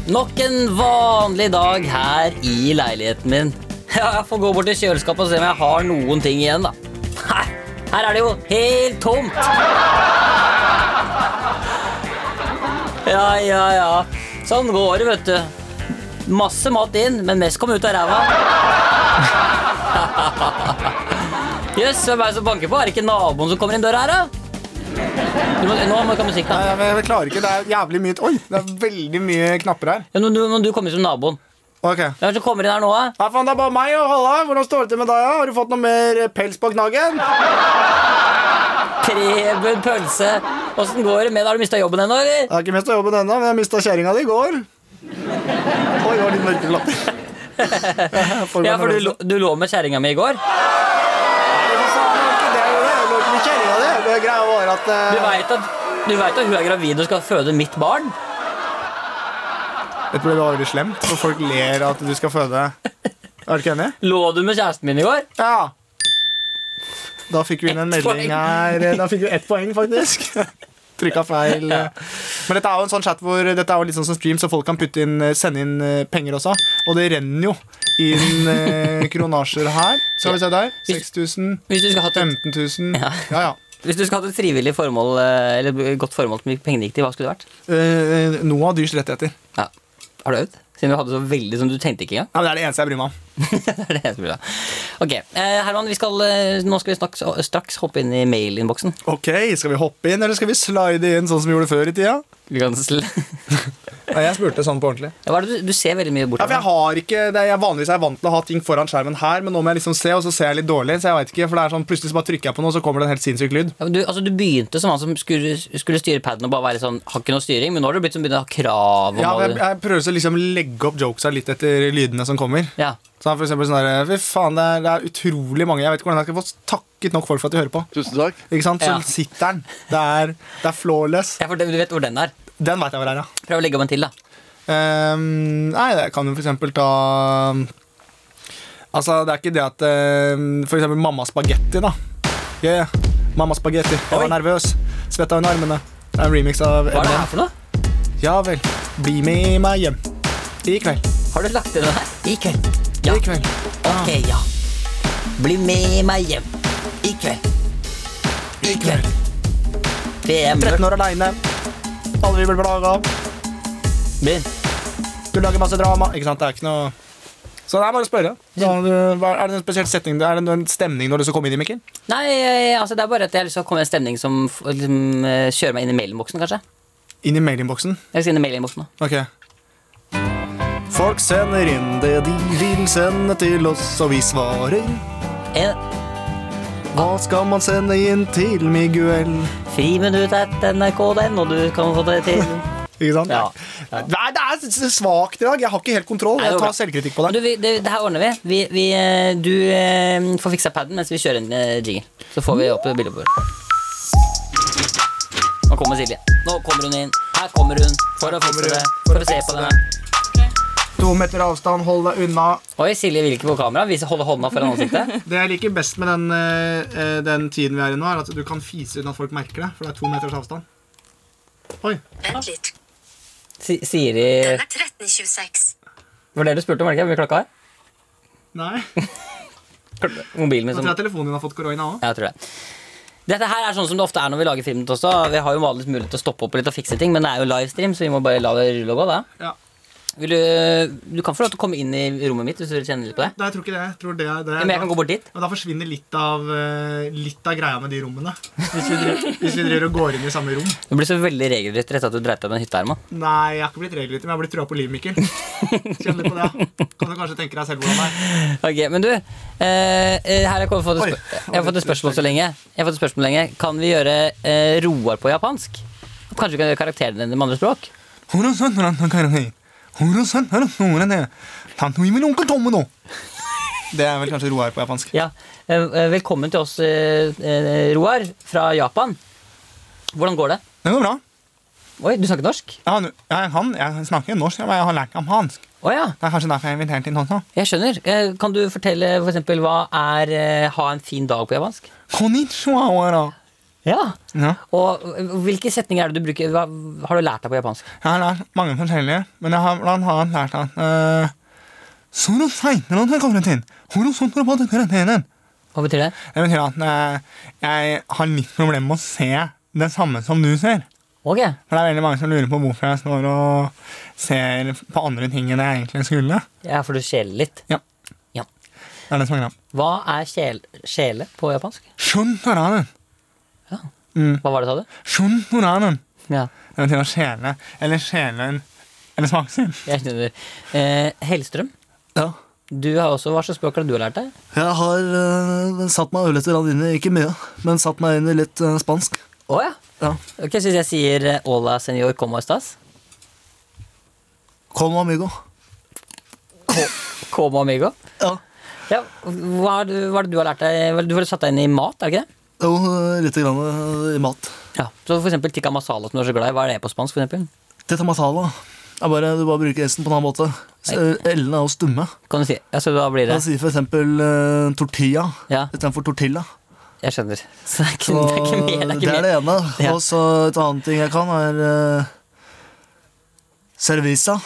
Speaker 3: nok en vanlig dag her i leiligheten min. Ja, jeg får gå bort til kjøleskapet og se om jeg har noen ting igjen, da. Nei, her er det jo helt tomt! Ja, ja, ja. Sånn går det, vet du. Masse mat inn, men mest kom ut av ræva. Jøss, hvem er det som banker på? Er det ikke naboen som kommer inn døra her, da? Du må, nå må du ikke ha musikk, da.
Speaker 2: Nei, jeg, jeg klarer ikke. Det er jævlig mye Oi, det er veldig mye knapper her.
Speaker 3: Ja, men du, men du kommer som naboen.
Speaker 2: Ok.
Speaker 3: Hvem er det som kommer inn her nå, da?
Speaker 2: Nei, faen, det er bare meg og Halla. Hvordan står det til med deg? ja? Har du fått noe mer eh, pels på knaggen?
Speaker 3: Preben Pølse. Åssen går det med deg? Har du mista jobben ennå, eller?
Speaker 2: Jeg har ikke mista jobben ennå, men jeg mista kjerringa di i går. Oi, det var litt mørke klapper.
Speaker 3: Ja, for du, lå- du lå med kjerringa mi i går.
Speaker 2: Det greia var at
Speaker 3: Du
Speaker 2: eh,
Speaker 3: veit at, du vet at hun er gravid og skal føde mitt barn?
Speaker 2: Jeg tror det var veldig slemt, for folk ler at du skal føde. Er du ikke enig?
Speaker 3: Lå du med kjæresten min i går?
Speaker 2: Ja. Da fikk vi inn en
Speaker 3: Ett
Speaker 2: melding
Speaker 3: poeng.
Speaker 2: her. Da fikk vi ett poeng, faktisk. Trykka feil. Men dette er jo en sånn chat hvor dette er jo litt sånn som stream, så folk kan putte inn, sende inn eh, penger også. Og det renner jo inn eh, kronasjer her. Skal vi se der. 6000.
Speaker 3: Hvis du skulle hatt et,
Speaker 2: 15 000. Ja, ja.
Speaker 3: hvis du skulle hatt et frivillig formål, eh, eller godt formål som pengene gikk til, hva skulle det
Speaker 2: Eh,
Speaker 3: vært?
Speaker 2: Noe av dyrs rettigheter.
Speaker 3: Ja. Har du øvd? Siden du hadde så veldig som du tenkte ikke engang.
Speaker 2: Ja, men det er det eneste jeg bryr meg om.
Speaker 3: det er det jeg tror, da. Ok, eh, Herman, vi skal, eh, nå skal vi straks, straks hoppe inn i mailinnboksen.
Speaker 2: Ok, Skal vi hoppe inn, eller skal vi slide inn sånn som vi gjorde før i tida?
Speaker 3: Vi kan sl-
Speaker 2: Nei, jeg spurte sånn på ordentlig.
Speaker 3: Hva er det du, du ser veldig mye bort
Speaker 2: Ja, for jeg har ikke, det er, jeg Vanligvis er jeg vant til å ha ting foran skjermen her, men nå må jeg liksom se, og så ser jeg litt dårlig. Så jeg vet ikke, for det er sånn, Plutselig så bare trykker jeg på noe, så kommer det en helt sinnssyk lyd.
Speaker 3: Ja, men du, altså, du begynte som han som skulle, skulle styre paden og bare være sånn Har ikke noe styring, men nå har du blitt som begynner å ha krav om
Speaker 2: Ja,
Speaker 3: hva
Speaker 2: jeg,
Speaker 3: du-
Speaker 2: jeg prøver så liksom legge opp jokesa litt etter lydene som kommer.
Speaker 3: ja.
Speaker 2: Så for eksempel sånn der, Fy faen, det er, det er utrolig mange. Jeg vet ikke hvordan jeg skal få takket nok folk for at de hører på.
Speaker 4: Tusen takk.
Speaker 2: Ikke sant? Så
Speaker 3: Ja.
Speaker 2: sitter den. Det er, det er flawless.
Speaker 3: ja, for det- du vet hvor den er.
Speaker 2: Den veit jeg hvor er, ja.
Speaker 3: Prøv å legge om en til, da.
Speaker 2: Ehm, nei, det kan jo for eksempel ta Altså, det er ikke det at ehm, For eksempel mamma spagetti, da. Yeah, mamma spagetti. Jeg var
Speaker 3: Oi.
Speaker 2: nervøs. Svetta under armene. Det er en remix av
Speaker 3: Hva er det her
Speaker 2: Eminem.
Speaker 3: for noe?
Speaker 2: Ja vel. Bli med meg hjem. I kveld.
Speaker 3: Har du lagt inn den her? I kveld. Ja.
Speaker 2: I kveld.
Speaker 3: Ok, ja. Bli med meg hjem. I kveld. I kveld. Det er
Speaker 2: 13
Speaker 3: mørkt.
Speaker 2: år aleine. Alle vi blir plaga av.
Speaker 3: Begynn.
Speaker 2: Du lager masse drama. Ikke sant? Det er ikke noe Så det er bare å spørre. Da, har du- hva- er det en spesiell setning? Er det en stemning du har lyst til å komme inn i, Mikkel?
Speaker 3: Nei, eh, altså det er bare at jeg har lyst til å komme i en stemning som f- liksom, eh, kjører meg inn i mailinnboksen, kanskje.
Speaker 2: Inn i mailinnboksen?
Speaker 3: Jeg skal inn i mailinnboksen nå.
Speaker 2: Ok Folk sender inn det de vil sende til oss, og vi svarer.
Speaker 3: En
Speaker 2: Hva skal man sende inn til Miguel?
Speaker 3: friminutt at nrk.no, og du kan få det til.
Speaker 2: Ikke sant?
Speaker 3: Ja.
Speaker 2: Nei, det er s- s- svakt i dag. Jeg har ikke helt kontroll.
Speaker 3: Nei,
Speaker 2: Jeg
Speaker 3: det var
Speaker 2: tar
Speaker 3: bra.
Speaker 2: selvkritikk på
Speaker 3: Men Du,
Speaker 2: det.
Speaker 3: vi, det, det her ordner vi. vi, vi eh, du eh, får fiksa paden mens vi kjører en eh, jingle. Så får vi opp bildet på bordet. Nå kommer Silje. Nå kommer hun inn. Her kommer hun for å fikse det. For å se på denne.
Speaker 5: To meter avstand, hold deg unna.
Speaker 3: Oi, Silje vil ikke på kamera. Vi holder hånda foran ansiktet.
Speaker 2: Det jeg liker best med den, eh, eh, den tiden vi er i nå, er at du kan fise uten at folk merker det. For det er to meters avstand. Oi.
Speaker 4: Vent litt.
Speaker 3: Si- Siri
Speaker 4: Den er 13.26.
Speaker 3: Var det du spurte om, var det ikke? Hvor mye klokka er?
Speaker 2: Nei.
Speaker 3: Mobilen min
Speaker 2: Jeg
Speaker 3: som
Speaker 2: tror at telefonen din har fått korona òg.
Speaker 3: Ja, jeg tror det. Dette her er sånn som det ofte er når vi lager filmnytt også. Vi har jo vanligvis mulighet til å stoppe opp litt og fikse ting, men det er jo livestream, så vi må bare la det rulle og gå, da.
Speaker 2: Ja.
Speaker 3: Vil du, eh, du kan få lov til å komme inn i rommet mitt hvis du vil kjenne litt på det.
Speaker 2: Nei, jeg tror ikke det. Jeg tror det, er- det
Speaker 3: Ja,
Speaker 2: er-
Speaker 3: Men jeg kan gå bort dit.
Speaker 2: Men da forsvinner litt av, eh, litt av greia med de rommene. Hvis vi, driver, hvis vi driver og går inn i samme rom.
Speaker 3: Du blir så veldig regelrett rett at du dreit deg med en hytteerma.
Speaker 2: Nei, jeg har ikke blitt regelrytter, men jeg har blitt trua på livet, Mikkel. Kjenn litt på det. ja. Kan du kanskje tenke deg selv hvordan det er?
Speaker 3: Ok, men du, eh, eh, her har jeg kommet- fått et,
Speaker 2: Oi.
Speaker 3: spør- jeg har fått et spørsmål så lenge. Jeg har fått et spørsmål lenge. Kan vi gjøre eh, Roar på japansk? Kanskje vi kan gjøre karakterene dine med andre språk?
Speaker 2: Det er vel kanskje Roar på japansk.
Speaker 3: Ja, eh, eh, Velkommen til oss, eh, eh, Roar fra Japan. Hvordan går det?
Speaker 2: Det går bra.
Speaker 3: Oi, du snakker norsk?
Speaker 2: Jeg, snakker norsk, jeg har lært japansk.
Speaker 3: Å ja,
Speaker 2: Det er kanskje derfor jeg er invitert inn også.
Speaker 3: jeg skjønner. Eh, Kan du fortelle for eksempel hva er eh, ha en fin dag på japansk?
Speaker 2: Konnichiwa, ora.
Speaker 3: Ja.
Speaker 2: Ja.
Speaker 3: Og eh, hvilke setninger er det du bruker? Hva har du lært deg på japansk?
Speaker 2: Jeg har lært mange forskjellige, men jeg har blant annet lært at eh, Soro seinere enn jeg kommer til. Horisonter på den karantenen.
Speaker 3: Hva betyr det?
Speaker 2: Det betyr at eh, jeg har litt problemer med å se det samme som du ser.
Speaker 3: Ok,
Speaker 2: For det er veldig mange som lurer på hvorfor jeg står og ser på andre ting enn jeg egentlig skulle.
Speaker 3: ja, for du skjeler litt.
Speaker 2: Ja.
Speaker 3: Ja.
Speaker 2: Det er det som er greia.
Speaker 3: Hva er kjel sjele på japansk?
Speaker 2: Shuntoranen.
Speaker 3: Hva var det, sa du?
Speaker 2: Shuntoranen.
Speaker 3: Ja,
Speaker 2: Det betyr å skjele. Eller sjelen. Eller smakssyn.
Speaker 3: jeg skjønner. Eh, Hellstrøm,
Speaker 6: Ja.
Speaker 3: du har også, hva slags språk har du har lært deg?
Speaker 6: Jeg har eh, satt meg ørlite grann inn i, ikke mye, men satt meg inn i litt eh, spansk.
Speaker 3: Å ja.
Speaker 6: Ja.
Speaker 3: Ok, så hvis jeg sier eh, hola senor, como estas?
Speaker 6: Como amigo.
Speaker 3: Como amigo?
Speaker 6: Ja.
Speaker 3: Ja, hva er, det- hva er det du har lært deg? Vel, Du har satt deg inn i mat, er det ikke det?
Speaker 6: Jo, eh, lite grann eh, i mat.
Speaker 3: Ja. Så for eksempel tikka masala, som du er så glad i, hva er det på spansk? for eksempel?
Speaker 6: Dette masala. Jeg bare, du bare bruker s-en på en annen måte. S- eh, L-ene er jo stumme.
Speaker 3: Kan du si? Ja, så da blir
Speaker 6: Jeg
Speaker 3: det
Speaker 6: sier for eksempel eh, tortilla
Speaker 3: Ja.
Speaker 6: istedenfor tortilla.
Speaker 3: Jeg skjønner. Så det er ikke,
Speaker 6: Så,
Speaker 3: det er ikke mer. Det er
Speaker 6: det
Speaker 3: ikke
Speaker 6: er
Speaker 3: mer.
Speaker 6: det ene.
Speaker 3: Ja.
Speaker 6: Og så et annet ting jeg kan, er eh, cerveza.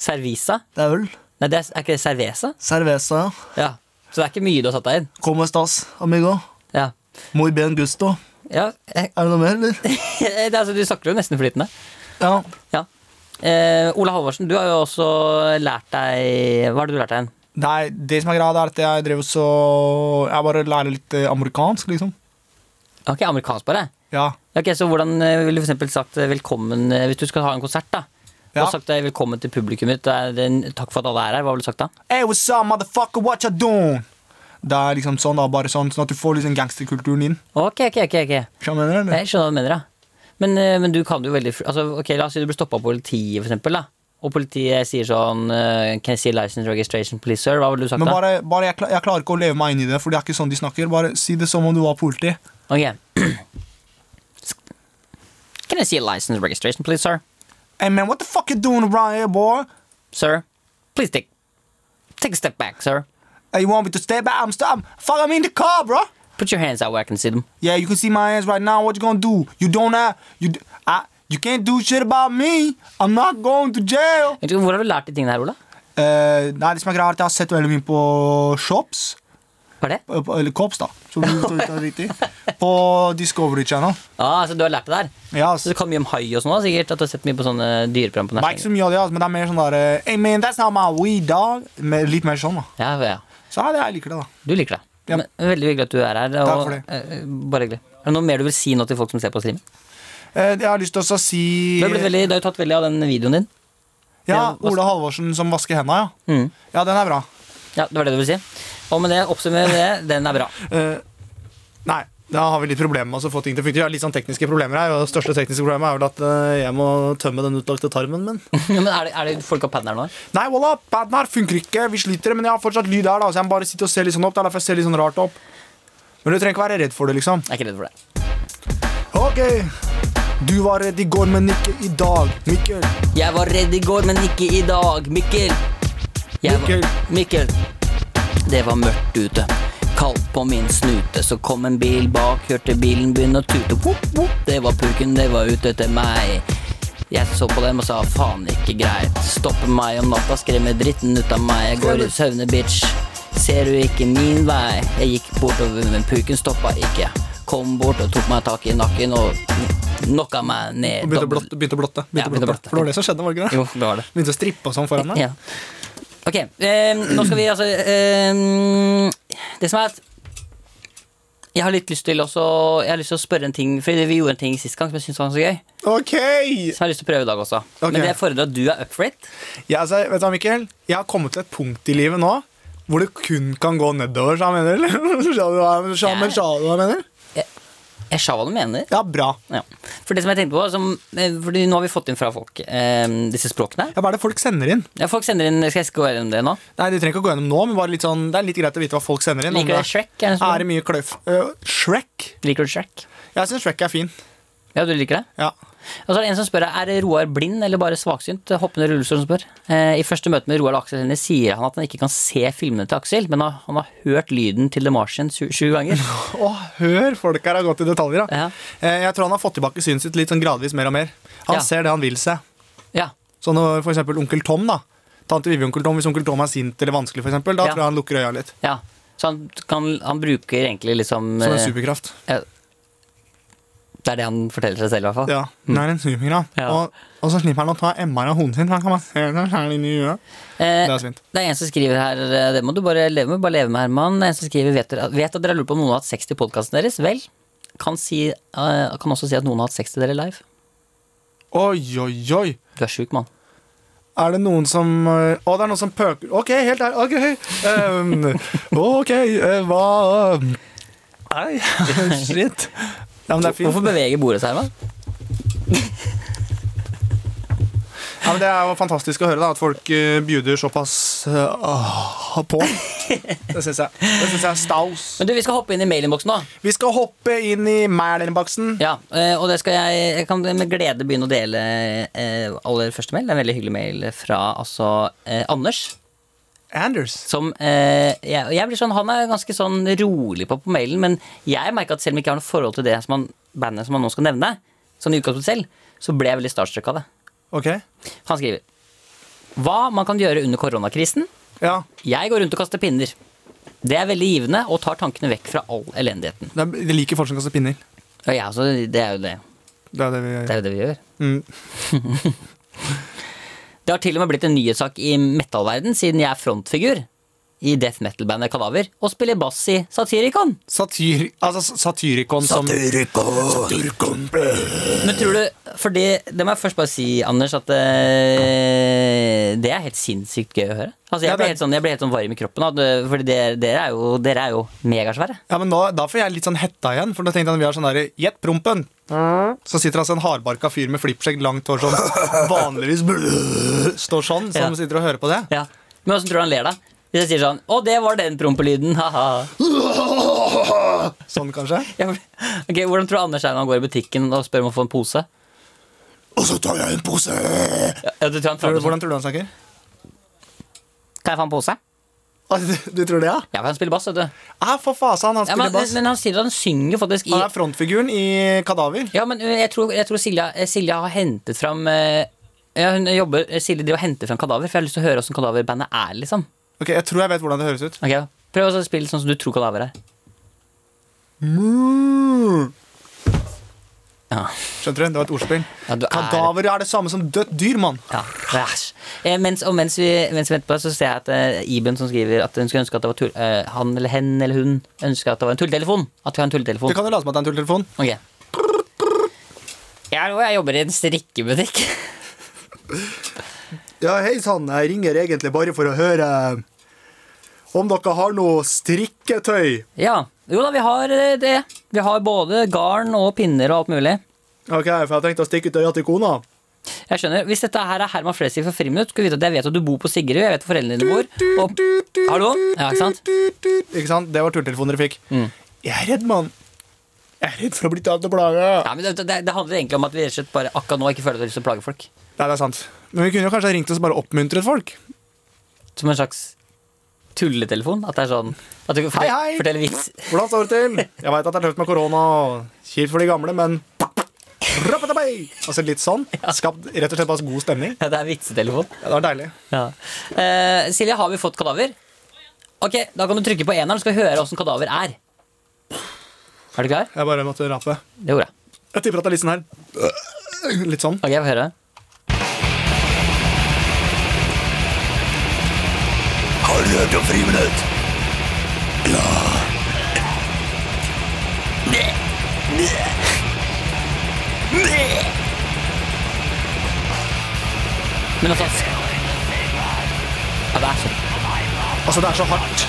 Speaker 3: Cervisa?
Speaker 6: Det er øl.
Speaker 3: Nei, det er, er ikke det cerveza?
Speaker 6: Cerveza, ja.
Speaker 3: Ja. Så det er ikke mye du har satt deg inn?
Speaker 6: Como estas, amigo.
Speaker 3: Ja.
Speaker 6: Muy bien gusto.
Speaker 3: ja. eh,
Speaker 6: Er det noe mer, eller?
Speaker 3: det er altså, du snakker jo nesten flytende.
Speaker 6: Ja.
Speaker 3: Ja. Eh, Ola Halvorsen, du har jo også lært deg Hva har du lært deg? igjen?
Speaker 2: Nei, det som er greia, det er at jeg driver så Jeg bare lærer litt eh, amerikansk, liksom.
Speaker 3: Ok, amerikansk bare.
Speaker 2: Ja.
Speaker 3: Ok, Så hvordan eh, ville du for eksempel sagt eh, velkommen eh, hvis du skal ha en konsert? da? Du
Speaker 2: Ja.
Speaker 3: har sagt eh, velkommen til publikum mitt. Det er det en, takk for at alle er her. Hva ville du sagt da?
Speaker 2: Hey, what's up, motherfucker, what you doing? Det er liksom sånn da, bare sånn, sånn at du får liksom gangsterkulturen inn.
Speaker 3: Ok, ok, ok. ok.
Speaker 2: Skjønner du, eller?
Speaker 3: Jeg skjønner hva du mener. da. Men, eh, men du kan jo veldig fl- altså, ok, La oss si du blir stoppa av politiet, for eksempel. Da. Og politiet sier sånn eh, Can you see license registration, please, sir? Hva ville du sagt
Speaker 2: Men
Speaker 3: da?
Speaker 2: bare, bare jeg, kla- jeg klarer ikke å leve meg inn i det, for det er ikke sånn de snakker. Bare si det som om du var politi.
Speaker 3: Ok. Can I see a license registration, please, sir?
Speaker 2: Hey man, what the fuck you doing around here, boy?
Speaker 3: Sir, please take, take a step back, sir.
Speaker 2: Hey, you want me to stay back? I'm, st- I'm fuck, I'm in the car, bro.
Speaker 3: Put your hands out where I can see them.
Speaker 2: Yeah, you can see my hands right now. What you gonna do? You don't have, you, d- I, you can't do shit about me. I'm not going to jail.
Speaker 3: Vet du, Hvor har du lært de tingene her, Ola?
Speaker 2: Eh, nei, det som er greia er at jeg har sett veldig mye på shops. eh,
Speaker 3: Hva er det?
Speaker 2: På- på- Eller Cops, da. Som du tar ut av riktig. På Discovery Channel.
Speaker 3: Ah, så du har lært det der?
Speaker 2: Ja,
Speaker 3: Så du kan mye om hai og sånn da, sikkert? At du har sett mye på sånne dyreprogram på
Speaker 2: Det er ikke så
Speaker 3: nærheten?
Speaker 2: mye av det, altså, men det er mer sånn der eh, Hey man, that's not my weed, dog. Mer- litt mer sånn, da.
Speaker 3: Ja, ja.
Speaker 2: Så ja, det, jeg liker det, da.
Speaker 3: Du liker det.
Speaker 2: Ja.
Speaker 3: Men, veldig hyggelig at du er her.
Speaker 2: Takk for det.
Speaker 3: eh, bare hyggelig. Er det noe mer du vil si nå til folk som ser på streamen?
Speaker 2: Eh, jeg har lyst til også å si
Speaker 3: Du har, blitt veldig, du har jo tatt veldig av den videoen din.
Speaker 2: Ja,
Speaker 3: Ja,
Speaker 2: Ola Halvorsen som vasker henda, ja.
Speaker 3: Mm.
Speaker 2: Ja, den er bra.
Speaker 3: Ja, Det var det du ville si? Og med det, oppsummerer det. Den er bra.
Speaker 2: Eh, nei, da har vi litt problemer med å få ting til å funke. Jeg har litt sånn tekniske problemer her, og det største tekniske problemet er vel at eh, jeg må tømme den utlagte tarmen min.
Speaker 3: Men er det, er det folk av padderen nå?
Speaker 2: Nei, walla, paden her funker ikke. Vi sliter, men jeg har fortsatt lyd her, da, så jeg må bare sitte og se litt sånn opp. Det er derfor jeg ser litt sånn rart opp. Men du trenger ikke være redd for det, liksom.
Speaker 3: Jeg er ikke redd for det.
Speaker 2: Ok, Du var redd i går, men ikke i dag. Mikkel.
Speaker 3: Jeg var redd i går, men ikke i dag. Mikkel. Jeg
Speaker 2: Mikkel.
Speaker 3: Var, Mikkel. Det var mørkt ute. Kaldt på min snute, så kom en bil bak, hørte bilen begynne å tute. Wop, wop. Det var purken, det var ute etter meg. Jeg så på dem og sa faen ikke greit. Stoppe meg om natta, skremme dritten ut av meg. Jeg går i søvne, bitch. Ser du ikke min vei? Jeg gikk bortover, men purken stoppa ikke. Kom bort og tok meg tak i nakken og knocka meg ned.
Speaker 2: Og begynte å blotte. Begynte å blotte.
Speaker 3: Ja,
Speaker 2: Begynte å
Speaker 3: begynte å
Speaker 2: blotte.
Speaker 3: blotte.
Speaker 2: For det var det som skjedde, var det ikke det?
Speaker 3: Jo, det var det.
Speaker 2: Begynte å strippe og sånn foran deg.
Speaker 3: Ja. Ok, eh, nå skal vi altså eh, Det som er at jeg har litt lyst til også Jeg har lyst til å spørre en ting For vi gjorde en ting sist gang som jeg syntes var ganske gøy.
Speaker 2: Ok!
Speaker 3: Som jeg har lyst til å prøve i dag også.
Speaker 2: Ok.
Speaker 3: Men det fordrer at du er up for it.
Speaker 2: Ja, altså, vet du hva, Mikkel? Jeg har kommet til et punkt i livet nå hvor det kun kan gå nedover, sa han mener. eller? Sa du hva- sa- men sa du hva jeg mener?
Speaker 3: Jeg sa hva du mener.
Speaker 2: Ja, bra.
Speaker 3: Ja. For det som jeg tenkte på som, eh, Fordi nå har vi fått inn fra folk eh, disse språkene.
Speaker 2: Ja, hva er det folk sender inn?
Speaker 3: Ja, folk sender inn Skal jeg gå gjennom det nå?
Speaker 2: Nei, De trenger ikke å gå gjennom nå, men bare litt sånn, det er litt greit å vite hva folk sender inn. om
Speaker 3: Liker du Shrek? Er det
Speaker 2: Er
Speaker 3: sånn?
Speaker 2: det mye kløff? Øh, Shrek?
Speaker 3: Liker du Shrek?
Speaker 2: Jeg syns Shrek er fin.
Speaker 3: Ja, du liker det?
Speaker 2: Ja.
Speaker 3: Og så er det en som spør Er Roar blind eller bare svaksynt? Hoppende rullestol som spør eh, I første møte med Roar og Aksel Hennie sier han at han ikke kan se filmene til Aksel Men han, han har hørt lyden til The Martian sju, sju ganger
Speaker 2: Å, hør! Folk her har gått i detaljer. Da.
Speaker 3: Ja,
Speaker 2: Eh, Jeg tror han har fått tilbake synet sitt litt sånn gradvis mer og mer. Han
Speaker 3: Ja.
Speaker 2: ser det han vil se.
Speaker 3: ja,
Speaker 2: Så når for eksempel onkel Tom, da. Tante Vivi og onkel Tom, Hvis onkel Tom er sint eller vanskelig, for eksempel, da
Speaker 3: Ja.
Speaker 2: tror jeg han lukker øya litt.
Speaker 3: ja. Så han, kan, han bruker egentlig liksom
Speaker 2: Som en
Speaker 3: eh,
Speaker 2: superkraft.
Speaker 3: ja. Det er det han forteller seg selv i hvert fall
Speaker 2: Ja. Den er en superkraft.
Speaker 3: Mm. Ja.
Speaker 2: Og, og så slipper han å ta MR av hodet sitt. for Han kan bare se den her inn i øyet.
Speaker 3: Eh,
Speaker 2: Det er altså- svint.
Speaker 3: Det er en som skriver her eh, Det må du bare leve med, bare leve med Herman En som skriver Vet, dere- vet at dere lurer på om noen har hatt sex til podcasten deres? Vel, kan, si, eh, kan også si at noen har hatt sex til dere live
Speaker 2: Oi, oi, oi.
Speaker 3: Du er syk, mann
Speaker 2: Er det noen som øh, Å, det er noen som pøker Ok, helt ærlig. Ok, um, ok, øh, hva Nei, shit. Ja, men det er fint.
Speaker 3: Hvorfor beveger bordet seg, Herman?
Speaker 2: Ja, men det er jo fantastisk å høre da, at folk eh, bjuder såpass eh, ah, på. Det syns jeg. Det synes jeg er staus.
Speaker 3: Men du, vi skal hoppe inn i mailinnboksen, da.
Speaker 2: Vi skal hoppe inn i Mæler'n-baksen.
Speaker 3: Ja, eh, og det skal jeg, jeg kan med glede begynne å dele eh, aller første mail. Det er en veldig hyggelig mail fra altså, eh, Anders.
Speaker 2: Anders.
Speaker 3: Som eh, jeg, jeg blir sånn, Han er ganske sånn rolig på på mailen, men jeg merker at selv om jeg ikke har noe forhold til det som han, bandet som han nå skal nevne, sånn i utgangspunktet selv, så ble jeg veldig starstruck av det.
Speaker 2: Ok.
Speaker 3: Han skriver Hva man kan gjøre under koronakrisen.
Speaker 2: Ja.
Speaker 3: Jeg går rundt og kaster pinner. Det er veldig givende og tar tankene vekk fra all elendigheten.
Speaker 2: Det, er, det liker folk som kaster pinner.
Speaker 3: Og jeg, også, det er jo det.
Speaker 2: Det er det vi
Speaker 3: Det er jo det vi gjør.
Speaker 2: Mm.
Speaker 3: det har til og med blitt en nyhetssak i metallverden siden jeg er frontfigur i death metal-bandet Kadaver og spiller bass i Satyricon.
Speaker 2: Satyr, altså, s- Satyricon som
Speaker 3: Men tror du For det, det må jeg først bare si, Anders, at eh, det er helt sinnssykt gøy å høre. Altså,
Speaker 2: Ja,
Speaker 3: jeg
Speaker 2: det er-
Speaker 3: ble helt sånn, jeg ble helt sånn varm i kroppen, av det, fordi dere, dere, er jo, dere er jo megasvære.
Speaker 2: Ja, men nå, Da får jeg litt sånn hetta igjen, for da tenkte jeg at vi har sånn derre Gjett prompen! Så sitter altså en hardbarka fyr med flippskjegg, langt hår, som vanligvis står sånn, som
Speaker 3: Ja.
Speaker 2: sitter og hører på det.
Speaker 3: Ja. Men åssen tror du han ler, da? Hvis jeg sier sånn Å, det var den prompelyden, ha-ha.
Speaker 2: Sånn, kanskje.
Speaker 3: Ja, for- Ok, Hvordan tror du Anders er når han går i butikken og spør om å få en pose?
Speaker 6: Og så tar jeg en pose.
Speaker 3: Ja, ja, du tror han
Speaker 2: Tror du,
Speaker 3: prater sånn,
Speaker 2: hvordan tror du han snakker?
Speaker 3: Kan jeg få en pose?
Speaker 2: Ah, Du, du tror det, ja?
Speaker 3: Ja, for han spiller bass, vet du.
Speaker 2: Ja, Ah, for fasen, han
Speaker 3: Ja,
Speaker 2: spiller
Speaker 3: men,
Speaker 2: bass.
Speaker 3: men han sier at han synger jo faktisk i
Speaker 2: Han er frontfiguren i Kadaver.
Speaker 3: Ja, men jeg tror, jeg tror Silja, eh, Silja har hentet fram eh, ja, hun jobber, eh, Silje driver og henter fram kadaver, for jeg har lyst til å høre åssen kadaverbandet er, liksom.
Speaker 2: Ok, Jeg tror jeg vet hvordan det høres ut.
Speaker 3: Ok, da. Prøv å spille sånn som du tror kadaver er. Ja,
Speaker 2: Skjønte du? Det var et ordspill.
Speaker 3: ja du er
Speaker 2: Kadaver er det samme som dødt dyr, mann.
Speaker 3: ja, æsj. Eh, mens, og mens vi, mens vi venter på det, så ser jeg at eh, Iben som skriver at hun skulle ønske at det var tull, eh, han eller hen eller hun ønsker at det var en tulltelefon. At vi har en tulltelefon.
Speaker 2: Det kan jo late som at det er en tulltelefon.
Speaker 3: Ok. Jeg, er jo- jeg jobber i en strikkebutikk.
Speaker 2: Ja, hei sann, jeg ringer egentlig bare for å høre eh, om dere har noe strikketøy.
Speaker 3: Ja. Jo da, vi har eh, det. Vi har både garn og pinner og alt mulig.
Speaker 2: Ok, for jeg tenkte å stikke ut øya til kona.
Speaker 3: Jeg skjønner. Hvis dette her er Herman Flesvig fra Friminutt, skal du vite at jeg vet at du bor på Sigrud, jeg vet hvor foreldrene dine bor. Og... Hallo? Ja, ikke sant? Mm.
Speaker 2: Ikke sant? Det var tulltelefonen dere fikk. Jeg er redd, mann. Jeg er redd for å bli tatt og plaga.
Speaker 3: Ja, men det, det, det handler egentlig om at vi rett og slett bare akkurat nå ikke føler at vi har lyst til å plage folk.
Speaker 2: Nei, det er sant. Men vi kunne jo kanskje ha ringt oss og bare oppmuntret folk.
Speaker 3: Som en slags tulletelefon. At det er sånn at du fortell,
Speaker 2: Hei, hei!
Speaker 3: forteller vits.
Speaker 2: Hvordan står det til? Jeg veit at det er tøft med korona og kjipt for de gamle, men Rappatabai! Altså litt sånn. Skapt rett og slett bare god stemning.
Speaker 3: Ja, det er vitsetelefon.
Speaker 2: Ja, det var deilig.
Speaker 3: Ja. Eh, Silje, har vi fått kadaver? Ok, Da kan du trykke på eneren, så skal vi høre åssen kadaver er. Er du klar?
Speaker 2: Jeg bare måtte rape.
Speaker 3: Det gjorde jeg.
Speaker 2: Jeg tipper at det er litt sånn her. Litt sånn.
Speaker 3: Ok, jeg får høre.
Speaker 4: Har du hørt om friminutt?
Speaker 3: Men altså Ja, det er sånn.
Speaker 2: Altså, det er så hardt.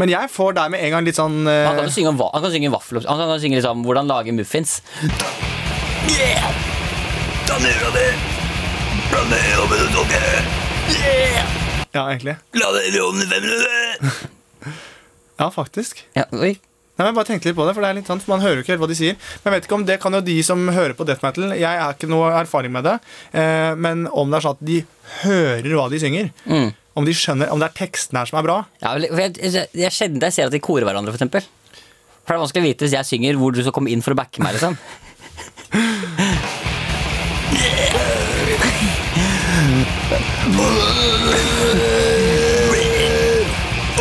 Speaker 2: Men jeg får der med en gang litt sånn
Speaker 3: Han kan
Speaker 2: eh,
Speaker 3: jo synge om hva- han kan synge vaffelops. Han kan kan synge liksom hvordan lage muffins.
Speaker 4: Yeah! Ta nesa di. Blande i over det tunge. Yeah!
Speaker 2: Ja, egentlig.
Speaker 4: La det i ovnen i fem minutter.
Speaker 2: Ja, faktisk.
Speaker 3: Ja, oi.
Speaker 2: Nei, men jeg bare tenkte litt på det, for det er litt sant, for man hører jo ikke helt hva de sier. Men jeg vet ikke om det kan jo de som hører på death metal. Jeg er ikke noe erfaring med det. Eh, men om det er sånn at de hører hva de synger,
Speaker 4: Mm.
Speaker 2: om de skjønner, om det er tekstene her som er bra
Speaker 3: Ja, vel, for jeg, jeg, jeg sjelden jeg ser at de korer hverandre, for eksempel. For det er vanskelig å vite hvis jeg synger hvor du skal komme inn for å backe meg, liksom.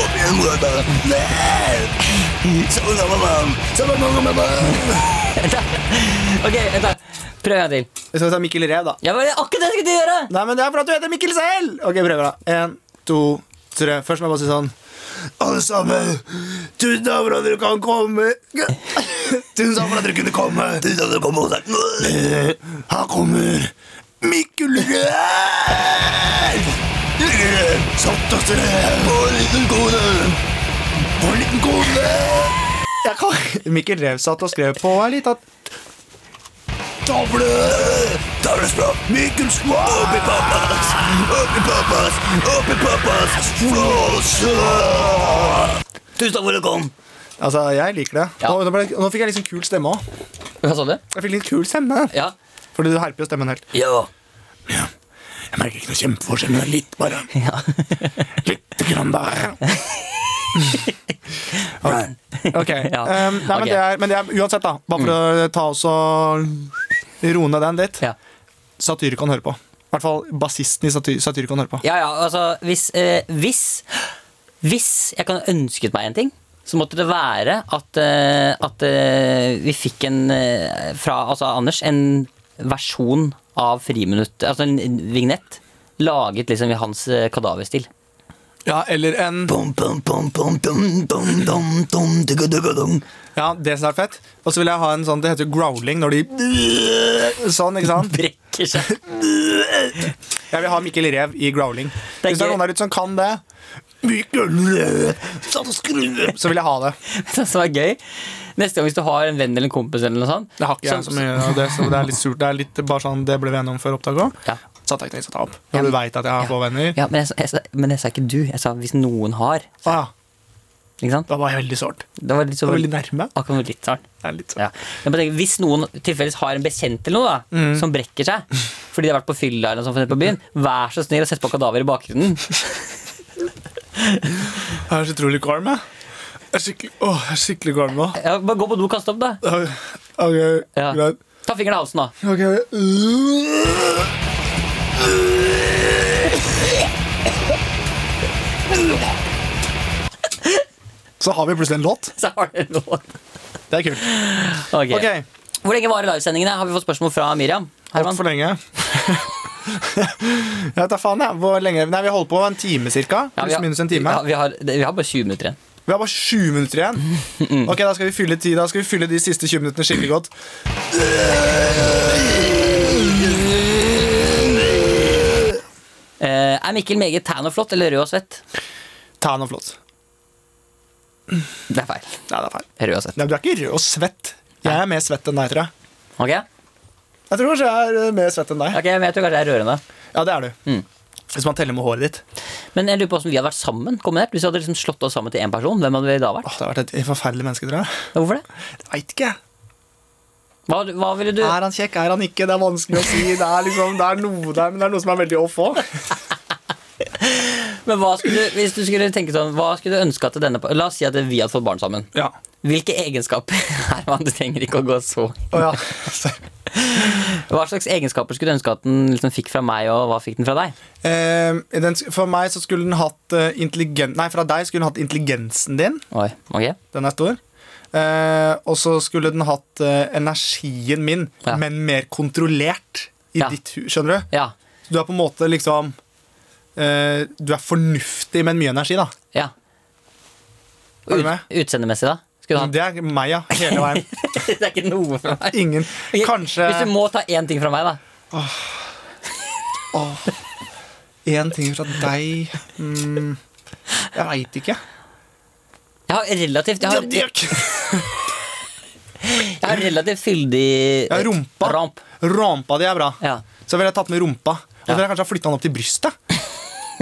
Speaker 4: Opp igjen, morata. Savna mamma. Savna mamma, mamma.
Speaker 3: Ok, vent da. Prøv en gang til.
Speaker 2: Hvis jeg tar Mikkel Rev, da.
Speaker 3: Ja, men det er akkurat det jeg skulle til å gjøre!
Speaker 2: Nei, men det er for at du heter Mikkel selv! Ok, prøver, da. En, to, tre. Først må jeg bare si sånn
Speaker 4: Alle sammen, tusen takk for at dere kan komme. Tusen takk for at dere kunne komme. Tusen takk for at dere kom på konserten. Her kommer Mikkel Ræv! Dere satt oss ned på en liten kone. På en liten kone.
Speaker 2: jeg kan. Mikkel Rev satt og skrev på her litt at
Speaker 4: Tavle. Tavlespråk. Mikkel Skvær. Oppi pappas. Oppi pappas. Oppi pappas. Flåse. Tusen takk for at dere kom.
Speaker 2: Altså, jeg liker det.
Speaker 3: Ja.
Speaker 2: Nå, nå, ble, nå fikk jeg litt sånn kul stemme òg.
Speaker 3: Hva sa du?
Speaker 2: Jeg fikk litt kul stemme.
Speaker 3: Ja.
Speaker 2: Fordi du herper jo stemmen helt.
Speaker 4: Ja. Jeg merker ikke noe kjempeforskjell, men det er litt bare. litt grann der.
Speaker 2: Ok,
Speaker 3: Ja,
Speaker 2: ehm, nei, Men,
Speaker 3: ok. Mm.
Speaker 2: det er, men det er uansett, da. Bare for å ta oss og roe ned den litt.
Speaker 3: Ja.
Speaker 2: Satyr kan høre på. I hvert fall bassisten i satyr, satyr kan høre på.
Speaker 3: Ja, ja, altså, hvis, eh, hvis Hvis jeg kan ønsket meg en ting, så måtte det være at, eh, at eh, vi fikk en eh, fra altså, Anders en versjon av Friminutt, altså en vignett, laget liksom i hans eh, kadaverstil.
Speaker 2: Ja, eller en
Speaker 4: Pom, pom, pom, pom, dum, dum, dum, dum, digga, digga, dum.
Speaker 2: Ja, det som er fett. Og så vil jeg ha en sånn Det heter jo growling når de Sånn, ikke sant?
Speaker 3: Brekker seg.
Speaker 2: Jeg vil ha Mikkel Rev i growling.
Speaker 3: Det er
Speaker 2: Hvis det er
Speaker 3: ikke-
Speaker 2: noen der ute som kan det,
Speaker 4: Mikkel Løe satt og skrev.
Speaker 2: så vil jeg ha det.
Speaker 3: Det som er gøy. Neste gang hvis du har en venn eller en kompis eller noe sånt
Speaker 2: Det har ikke jeg så mye av det, så det er litt surt. Det er litt bare sånn Det ble vi enige om før opptak òg.
Speaker 3: Ja.
Speaker 2: Så at jeg ikke skal ta opp. Når du veit at jeg har få venner.
Speaker 3: Ja, men jeg, sa- jeg, sa- men jeg sa ikke du. Jeg sa hvis noen har.
Speaker 2: Å ja.
Speaker 3: Ikke sant?
Speaker 2: Da var jeg veldig sårt.
Speaker 3: Det var litt så
Speaker 2: Det var veldig nærme.
Speaker 3: Akkurat noe litt sånn.
Speaker 2: Det er litt sårt.
Speaker 3: Ja. Men bare tenk, hvis noen tilfeldigvis har en bekjent eller noe da,
Speaker 2: Mm.
Speaker 3: som brekker seg fordi de har vært på fylla, eller noe sånt for eksempel på byen, vær så snill å sette på kadaver i bakgrunnen.
Speaker 2: Jeg er så utrolig kvalm, jeg. Jeg er skikkelig, åh, jeg er skikkelig kvalm nå.
Speaker 3: Ja, bare gå på do og kaste opp, da.
Speaker 2: Ok, ok,
Speaker 3: Ja.
Speaker 2: greit.
Speaker 3: Ta fingeren i halsen, da.
Speaker 2: Ok, Så har vi plutselig en låt.
Speaker 3: Så har dere noe.
Speaker 2: Det er kult.
Speaker 3: Ok.
Speaker 2: Ok,
Speaker 3: Hvor lenge varer livesendingene? Har vi fått spørsmål fra Miriam? Herman?
Speaker 2: Altfor lenge. jeg vet da faen, jeg. Hvor lenge Nei, vi holder på en time cirka.
Speaker 3: Ja,
Speaker 2: Pluss minus en time.
Speaker 3: Ja, vi, har, det- vi har bare 20 minutter igjen.
Speaker 2: Vi har bare 20 minutter igjen. Ok, Da skal vi fylle tid, da skal vi fylle de siste 20 minuttene skikkelig godt.
Speaker 3: Eh, er Mikkel meget tan og flott eller rød og svett?
Speaker 2: Ta noe flott.
Speaker 3: Det er feil.
Speaker 2: Nei, det er feil.
Speaker 3: Rød og svett.
Speaker 2: Nei, men Du er ikke rød og svett. Jeg er mer svett enn deg, tror jeg.
Speaker 3: Ok?
Speaker 2: Jeg tror kanskje jeg er eh, mer svett enn deg.
Speaker 3: Ok, men Jeg tror kanskje jeg er rørende.
Speaker 2: Ja, det er du. Hvis man teller med håret ditt.
Speaker 3: Men jeg lurer på hvordan vi hadde vært sammen kombinert. Hvis vi hadde liksom slått oss sammen til én person, hvem hadde vi da vært?
Speaker 2: Åh, det har vært et forferdelig menneske, tror jeg.
Speaker 3: Men Hvorfor det?
Speaker 2: Jeg Veit ikke.
Speaker 3: Hva, hva ville du
Speaker 2: Er han kjekk, er han ikke? Det er vanskelig å si. Det er, liksom, det er noe der, men det er noe som er veldig off òg.
Speaker 3: Men hva skulle du, hvis du skulle tenke sånn, hva skulle du ønske at denne La oss si at vi hadde fått barn sammen.
Speaker 2: Ja.
Speaker 3: Hvilke egenskaper Herman, du trenger ikke å gå så
Speaker 2: Å, ja.
Speaker 3: Hva slags egenskaper skulle du ønske at den liksom fikk fra meg, og hva fikk den fra deg?
Speaker 2: Eh, den, sk- for meg så skulle den hatt eh, intelligen... Nei, fra deg skulle den hatt intelligensen din.
Speaker 3: Oi, ok
Speaker 2: Den er stor. Eh, og så skulle den hatt eh, energien min,
Speaker 3: Ja.
Speaker 2: men mer kontrollert i
Speaker 3: Ja.
Speaker 2: ditt hus. Skjønner du?
Speaker 3: Ja,
Speaker 2: Du er på en måte liksom eh, Du er fornuftig, men mye energi, da.
Speaker 3: ja
Speaker 2: Er du med?
Speaker 3: Ut, Utseendemessig da? Skulle du hatt
Speaker 2: Det er meg, ja. Hele veien.
Speaker 3: Det er ikke noe fra meg
Speaker 2: Ingen
Speaker 3: Ok,
Speaker 2: Kanskje
Speaker 3: Hvis du må ta én ting fra meg da
Speaker 2: én ting fra deg mm, Jeg veit ikke.
Speaker 3: Jeg har relativt Jeg har, jeg, har relativt fyldig
Speaker 2: Ja, rumpa.
Speaker 3: Ramp
Speaker 2: Rampa di er bra.
Speaker 3: Ja
Speaker 2: Så ville jeg tatt med rumpa. Og så
Speaker 3: Ja.
Speaker 2: ville jeg kanskje flytta den opp til brystet.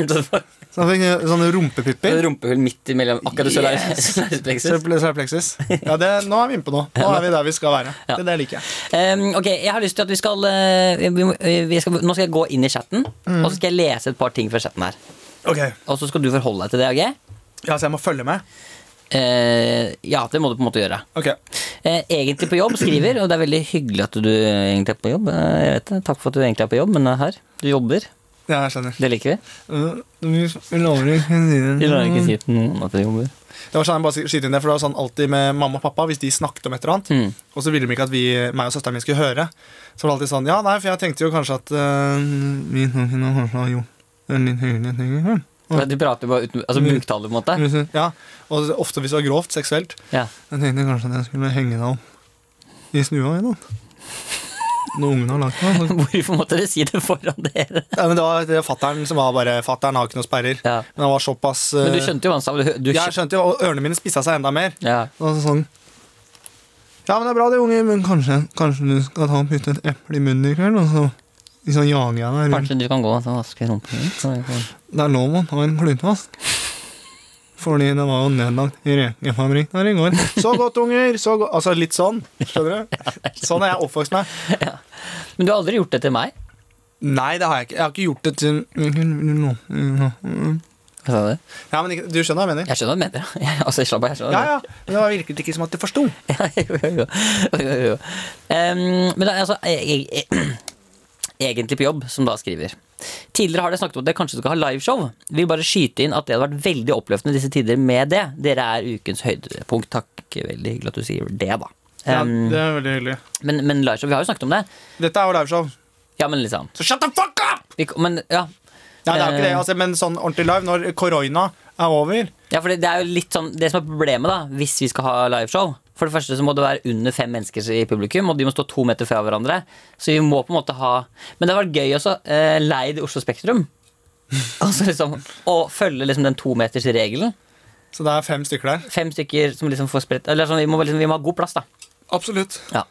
Speaker 3: Så får du
Speaker 2: Så jeg fikk sånn Sånne rumpepipper.
Speaker 3: et Rumpehull midt imellom akkurat det solare
Speaker 2: Yes.
Speaker 3: solare plexus.
Speaker 2: Solar- solar plexus. Ja, det, nå er vi inne på noe. Nå er vi der vi skal være.
Speaker 3: Ja.
Speaker 2: Det, det liker jeg.
Speaker 3: Ehm, Ok, jeg har lyst til at vi skal, eh, vi, må- eh, vi skal Nå skal jeg gå inn i chatten
Speaker 2: Mm.
Speaker 3: Og så skal jeg lese et par ting fra chatten her
Speaker 2: Ok,
Speaker 3: Og så skal du forholde deg til det, ok?
Speaker 2: ja, Så jeg må følge med?
Speaker 3: Eh, ja, det må du på en måte gjøre.
Speaker 2: Ok
Speaker 3: Eh, egentlig på jobb, skriver, og det er veldig hyggelig at du egentlig er på jobb. Eh, jeg vet det. Takk for at du egentlig er på jobb, men eh, her, du jobber.
Speaker 2: Ja, jeg skjønner.
Speaker 3: Det liker vi.
Speaker 2: Vi vi lover ikke å si
Speaker 3: Vi
Speaker 2: det.
Speaker 3: lar ikke si til noen at du jobber.
Speaker 2: Det var sånn, jeg bare skyter inn det, for det var sånn alltid med mamma og pappa, hvis de snakket om et eller annet,
Speaker 3: Mm.
Speaker 2: og så ville de ikke at vi, meg og søsteren min skulle høre, så var det alltid sånn Ja, nei, for jeg tenkte jo kanskje at øh, vi kan finne kanskje, jo, det er litt høyere, jeg tenker, hm.
Speaker 3: Men De prater bare uten altså, munntale, på en måte.
Speaker 2: Hvis du- Ja, og så- ofte hvis det var grovt seksuelt,
Speaker 3: Ja.
Speaker 2: jeg tenkte kanskje at jeg skulle henge deg opp i snua i natt. Når ungene har lagt meg. så
Speaker 3: Hvorfor måtte dere si det foran dere?
Speaker 2: Ja, men det var det var fatteren som var bare Fatteren har ikke noe sperrer.
Speaker 3: Ja.
Speaker 2: Men han var såpass eh,
Speaker 3: Men du skjønte jo hva han sa. Du, hø- du,
Speaker 2: Jeg
Speaker 3: skjø-
Speaker 2: skjønte jo, og ørene mine spissa seg enda mer.
Speaker 3: ja.
Speaker 2: Og så sånn Ja, men det er bra, det, unge, men kanskje, kanskje du skal ta og putte et eple i munnen i kveld, og så liksom jager jeg deg rundt.
Speaker 3: Kanskje du kan gå og så vaske rumpa di? så jeg får-
Speaker 2: Det er lov å ta en klypevask. Fordi det var jo nedlagt i rekefabrikk der i går. Så godt, unger! Så godt. Altså litt sånn. Skjønner du? Sånn er jeg oppvokst med.
Speaker 3: Men du har aldri gjort det til meg?
Speaker 2: Nei, det har jeg ikke. Jeg har ikke gjort det til
Speaker 3: Hva sa du?
Speaker 2: Ja, men ikke, Du skjønner hva jeg mener?
Speaker 3: Jeg skjønner hva du mener. ja. Jeg, altså, slapp av, jeg skjønner. hva du
Speaker 2: Ja,
Speaker 3: mener.
Speaker 2: ja. Men det virket ikke som at du forsto.
Speaker 3: jo, jo, jo, jo, jo. Em, men da, altså jeg, jeg, Egentlig på jobb, som da skriver. Tidligere har dere snakket om at dere kanskje skal ha liveshow. Vil bare skyte inn at det hadde vært veldig oppløftende i disse tider med det. Dere er ukens høydepunkt. Takk. Veldig hyggelig at du sier det, da. Em,
Speaker 2: er veldig hyggelig.
Speaker 3: men, men liveshow, vi har jo snakket om det.
Speaker 2: Dette er jo liveshow,
Speaker 3: Ja, men liksom
Speaker 2: så shut the fuck up!
Speaker 3: vi, Men ja.
Speaker 2: Nei, det er jo ikke det,
Speaker 3: Eh.
Speaker 2: altså, men sånn ordentlig live, når korona er over
Speaker 3: ja for det, det er jo litt sånn Det som er problemet, da, hvis vi skal ha liveshow For det første så må det være under fem mennesker i publikum, og de må stå to meter fra hverandre. Så vi må på en måte ha Men det har vært gøy også. Eh, leid i Oslo Spektrum. Altså liksom, Å følge liksom den tometersregelen.
Speaker 2: Så det er fem stykker der.
Speaker 3: Fem stykker som liksom får spredt Eller sånn, vi må, liksom, vi må ha god plass, da.
Speaker 2: Absolutt.
Speaker 3: Ja.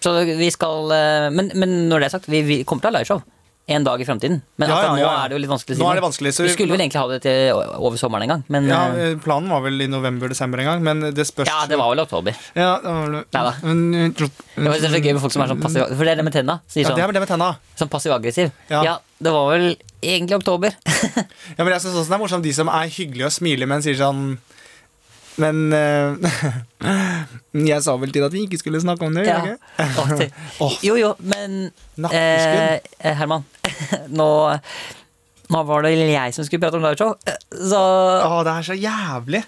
Speaker 3: Så vi skal eh, Men, men når det er sagt, vi, vi kommer til å ha liveshow. En dag i fremtiden. Men
Speaker 2: Ja,
Speaker 3: akkurat
Speaker 2: ja, ja,
Speaker 3: nå
Speaker 2: ja.
Speaker 3: er det jo litt vanskelig. å si
Speaker 2: Nå er
Speaker 3: noe.
Speaker 2: det vanskelig, så
Speaker 3: vi
Speaker 2: vi-
Speaker 3: skulle vel egentlig ha det til o- over sommeren en gang, men
Speaker 2: Ja,
Speaker 3: eh,
Speaker 2: eh, Planen var vel i november-desember en gang, men det spørs
Speaker 3: ja, det var vel i oktober.
Speaker 2: Ja, det var vel-
Speaker 3: Neida.
Speaker 2: Men, eh, klopp-
Speaker 3: Det var så gøy med folk som er sånn passiv For det er det med tenna. Sier
Speaker 2: Mm. Ja,
Speaker 3: sånn,
Speaker 2: det er vel det med tenna.
Speaker 3: sånn passiv-aggressiv. Ja.
Speaker 2: Ja.
Speaker 3: det var vel egentlig oktober.
Speaker 2: Ja, men jeg synes også det er morsomt de som er hyggelige og smiler, men sier sånn Men eh, Jeg sa vel til at vi ikke skulle snakke om det?
Speaker 3: ja.
Speaker 2: gjorde jeg ikke?
Speaker 3: Alltid. Jo, jo, men eh,
Speaker 2: Nakkeskudd.
Speaker 3: Herman, nå nå var det jeg som skulle prate om liveshow, eh, så
Speaker 2: Åh, det er så jævlig.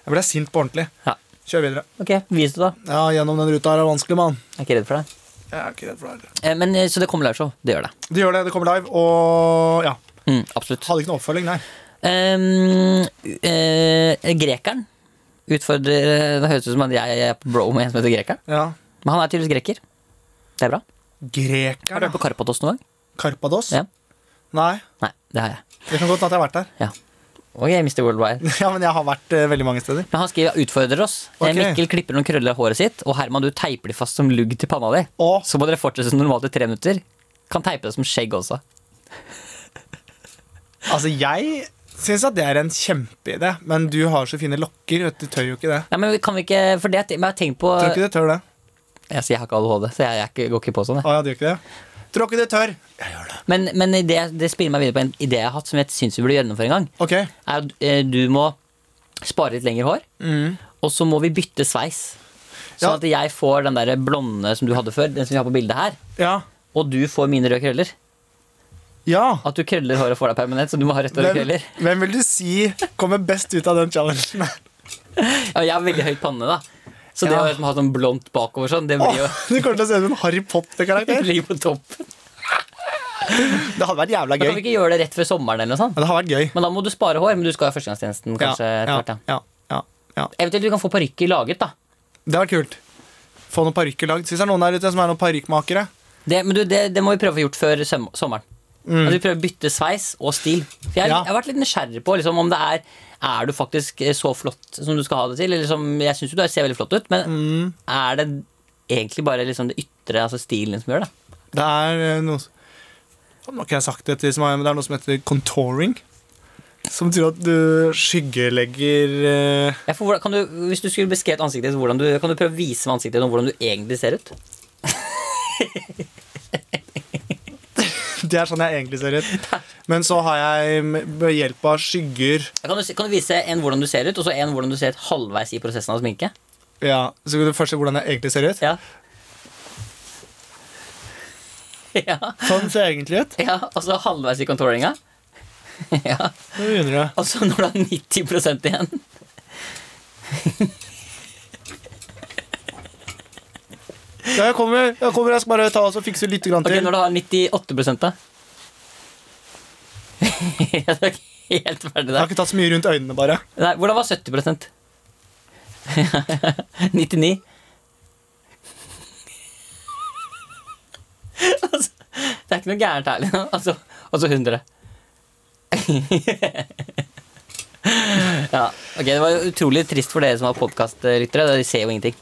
Speaker 2: Jeg ble sint på ordentlig.
Speaker 3: Ja.
Speaker 2: Kjør videre.
Speaker 3: Ok, vis det, da.
Speaker 2: Ja, gjennom den ruta her er vanskelig, mann.
Speaker 3: Jeg er ikke redd for det.
Speaker 2: Jeg er ikke redd for det.
Speaker 3: Eh, Men, eh, så det kommer liveshow. Det gjør det.
Speaker 2: Det gjør det. Det kommer live, og ja.
Speaker 3: Mm, absolutt.
Speaker 2: Hadde ikke noe oppfølging, nei.
Speaker 3: Um, eh, grekeren utfordrer Det høres ut som at jeg jeg er på bro med en som heter Grekeren.
Speaker 2: Ja.
Speaker 3: Men han er tydeligvis greker. Det er bra. Har du
Speaker 2: Grekeren,
Speaker 3: vært på Karpatos noen gang?
Speaker 2: ja. Karpados?
Speaker 3: Ja.
Speaker 2: Nei,
Speaker 3: Nei, det har jeg.
Speaker 2: det kan godt hende at jeg har vært der.
Speaker 3: Ja. Ok, Mr. Worldwide.
Speaker 2: Ja, men jeg har vært eh, veldig mange steder.
Speaker 3: Men han skriver 'utfordrer oss'. Eh,
Speaker 2: Ok.
Speaker 3: Mikkel klipper noen krøller av håret sitt, og Herman, du teiper de fast som lugg til panna di.
Speaker 2: Å.
Speaker 3: Så må dere fortsette som normalt i tre minutter. Kan teipe det som skjegg også.
Speaker 2: Altså, jeg syns at det er en kjempeidé, men du har så fine lokker. Vet du, du tør jo ikke det.
Speaker 3: Nei, men kan vi ikke For det men jeg har tenkt på
Speaker 2: Tror ikke du tør det.
Speaker 3: Jeg sier jeg har ikke ADHD, så jeg, jeg er ikke, går ikke på sånn. jeg.
Speaker 2: Å, ja, du gjør ikke det? Tror ikke du tør.
Speaker 3: Men, men det, det spiller meg videre på en idé jeg har hatt, som jeg syns vi burde gjennomføre en gang.
Speaker 2: Ok.
Speaker 3: Er at eh, du må spare litt lengre hår, og så må vi bytte sveis. Sånn
Speaker 2: Mm. Ja.
Speaker 3: at jeg får den der blonde som du hadde før, den som vi har på bildet her,
Speaker 2: Ja.
Speaker 3: og du får mine røde krøller.
Speaker 2: ja.
Speaker 3: At du krøller håret og får deg permanent, så du må ha rødt hår og
Speaker 2: Hvem,
Speaker 3: krøller.
Speaker 2: hvem vil du si kommer best ut av den challengen?
Speaker 3: Ja, jeg har veldig høy panne, da. Så det
Speaker 2: Ja.
Speaker 3: å liksom ha sånn blondt bakover sånn, det blir jo
Speaker 2: Åh, du kommer til å se ut som en Harry
Speaker 3: det
Speaker 2: Potter-karakter.
Speaker 3: blir på topp.
Speaker 2: Det hadde vært jævla
Speaker 3: Men
Speaker 2: gøy.
Speaker 3: kan vi ikke gjøre det rett før sommeren eller noe sånt?
Speaker 2: Ja, Det hadde vært gøy.
Speaker 3: Men da må du spare hår, men du skal ha førstegangstjenesten kanskje
Speaker 2: ja,
Speaker 3: etter hvert.
Speaker 2: ja,
Speaker 3: Ja.
Speaker 2: ja, ja, ja.
Speaker 3: Eventuelt du kan få parykker laget, da.
Speaker 2: Det hadde vært kult. Få noen parykker lagd. Hvis det er noen der ute som er noen parykkmakere
Speaker 3: Det, men du, det, det må vi prøve å få gjort før søm sommeren. At vi prøver å bytte sveis og stil. For jeg,
Speaker 2: Ja.
Speaker 3: jeg har vært litt nysgjerrig på liksom, om det er Er du faktisk eh, så flott som du skal ha det til. Eller liksom, jeg syns jo du er- ser veldig flott ut, men er det egentlig bare liksom, det ytre, altså stilen, som gjør det?
Speaker 2: Det er eh, noe s- Nå har ikke jeg sagt det til som er, men det er noe som heter contouring. Som betyr at du skyggelegger eh,
Speaker 3: Ja, for hvordan, kan du, hvis du skulle beskrevet ansiktet ditt, hvordan du, kan du prøve å vise meg ansiktet ditt om hvordan du egentlig ser ut?
Speaker 2: Det er sånn jeg egentlig ser ut. Men så har jeg med ved hjelp av skygger
Speaker 3: Ja, Kan du, se- kan du vise en hvordan du ser ut, og så en hvordan du ser ut halvveis i prosessen av sminke?
Speaker 2: Ja, Så skal du først se hvordan jeg egentlig ser ut.
Speaker 3: Ja. ja.
Speaker 2: Sånn ser jeg egentlig ut.
Speaker 3: ja og så halvveis i contouringa. ja.
Speaker 2: Nå begynner jeg.
Speaker 3: Og så når du har 90 igjen.
Speaker 2: Ja, jeg kommer, jeg kommer, jeg skal bare ta oss og fikse litt grann
Speaker 3: Ok,
Speaker 2: til.
Speaker 3: Når du har 98 da? Ja, du er ikke helt ferdig
Speaker 2: Jeg har
Speaker 3: der.
Speaker 2: ikke tatt så mye rundt øynene, bare.
Speaker 3: Nei, hvordan var 70 99 altså, Det er ikke noe gærent her. liksom. Altså, og så 100. ja, ok, Det var utrolig trist for dere som har podkastlyttere. De ser jo ingenting.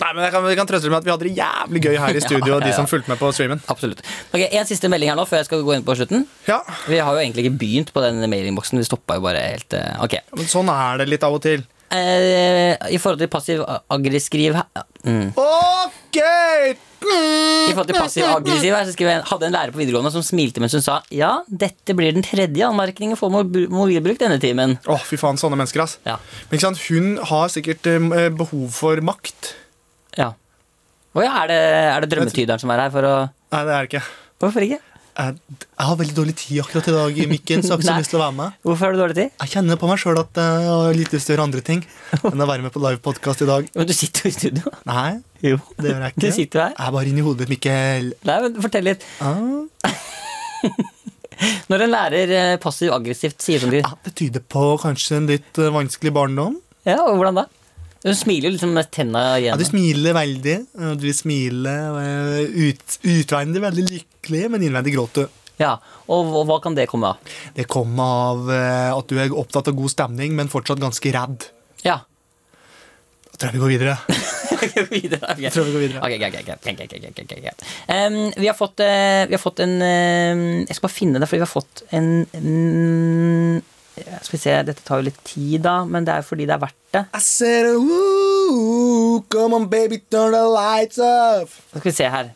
Speaker 2: Nei, men jeg kan, jeg kan trøste dere med at Vi hadde det jævlig gøy her i studio,
Speaker 3: ja,
Speaker 2: de
Speaker 3: ja.
Speaker 2: som fulgte med på streamen.
Speaker 3: Absolutt. Ok, En siste melding her nå før jeg skal gå inn på slutten.
Speaker 2: Ja,
Speaker 3: Vi har jo egentlig ikke begynt på den mailinnboksen. Vi stoppa jo bare helt eh, Ok.
Speaker 2: men Sånn er det litt av og til.
Speaker 3: Eh, I forhold til passiv aggressiv mm.
Speaker 2: Ok!
Speaker 3: I forhold til passiv aggressiv her, så skriver jeg Hadde en lærer på videregående som smilte mens hun sa Ja, dette blir den tredje anmerkningen for mob- mobilbruk denne timen.
Speaker 2: Å, fy faen, sånne mennesker, ass.
Speaker 3: Ja.
Speaker 2: Men ikke sant, Hun har sikkert eh, behov for makt.
Speaker 3: ja. Å ja, er det, er det drømmetyderen som er her for å
Speaker 2: Nei, det er det ikke.
Speaker 3: Hvorfor ikke?
Speaker 6: Jeg, jeg har veldig dårlig tid akkurat i dag, Mikken, så jeg har ikke
Speaker 3: Nei.
Speaker 6: så lyst til å være med.
Speaker 3: Hvorfor har du dårlig tid?
Speaker 6: Jeg kjenner på meg sjøl at jeg har litt lyst til å gjøre andre ting enn å være med på livepodkast i dag.
Speaker 3: Men du sitter jo i studio.
Speaker 6: Nei,
Speaker 3: Jo.
Speaker 6: det gjør jeg
Speaker 3: Du
Speaker 6: ikke. Jeg
Speaker 3: sitter jo her.
Speaker 6: er bare inni hodet ditt, Mikkel. Ah.
Speaker 3: Nei, men fortell litt. Når en lærer eh, passiv-aggressivt sier sånn til
Speaker 6: Ja, det tyder på kanskje en litt eh, vanskelig barndom.
Speaker 3: Ja, og hvordan da? Hun smiler jo liksom med tenna
Speaker 6: Ja,
Speaker 3: igjen.
Speaker 6: du smiler veldig. og Du smiler eh, ut, utvendig veldig lykkelig, men innvendig gråter du.
Speaker 3: Ja, og, og hva kan det komme av?
Speaker 6: Det kommer av eh, at du er opptatt av god stemning, men fortsatt ganske redd.
Speaker 3: Ja.
Speaker 6: Da tror jeg vi går videre.
Speaker 3: videre, ok.
Speaker 6: Jeg tror vi går videre.
Speaker 3: Ok, greit, greit, greit, greit, greit, greit, greit, greit, greit. Em, vi, har fått, eh, vi har fått en eh, Jeg skal bare finne det, fordi vi har fått en mm, ja, Skal vi se, dette tar jo litt tid, da, men det er fordi det er verdt det.
Speaker 6: I said, "Ooh, come on baby, turn the lights off.
Speaker 3: Skal vi se her.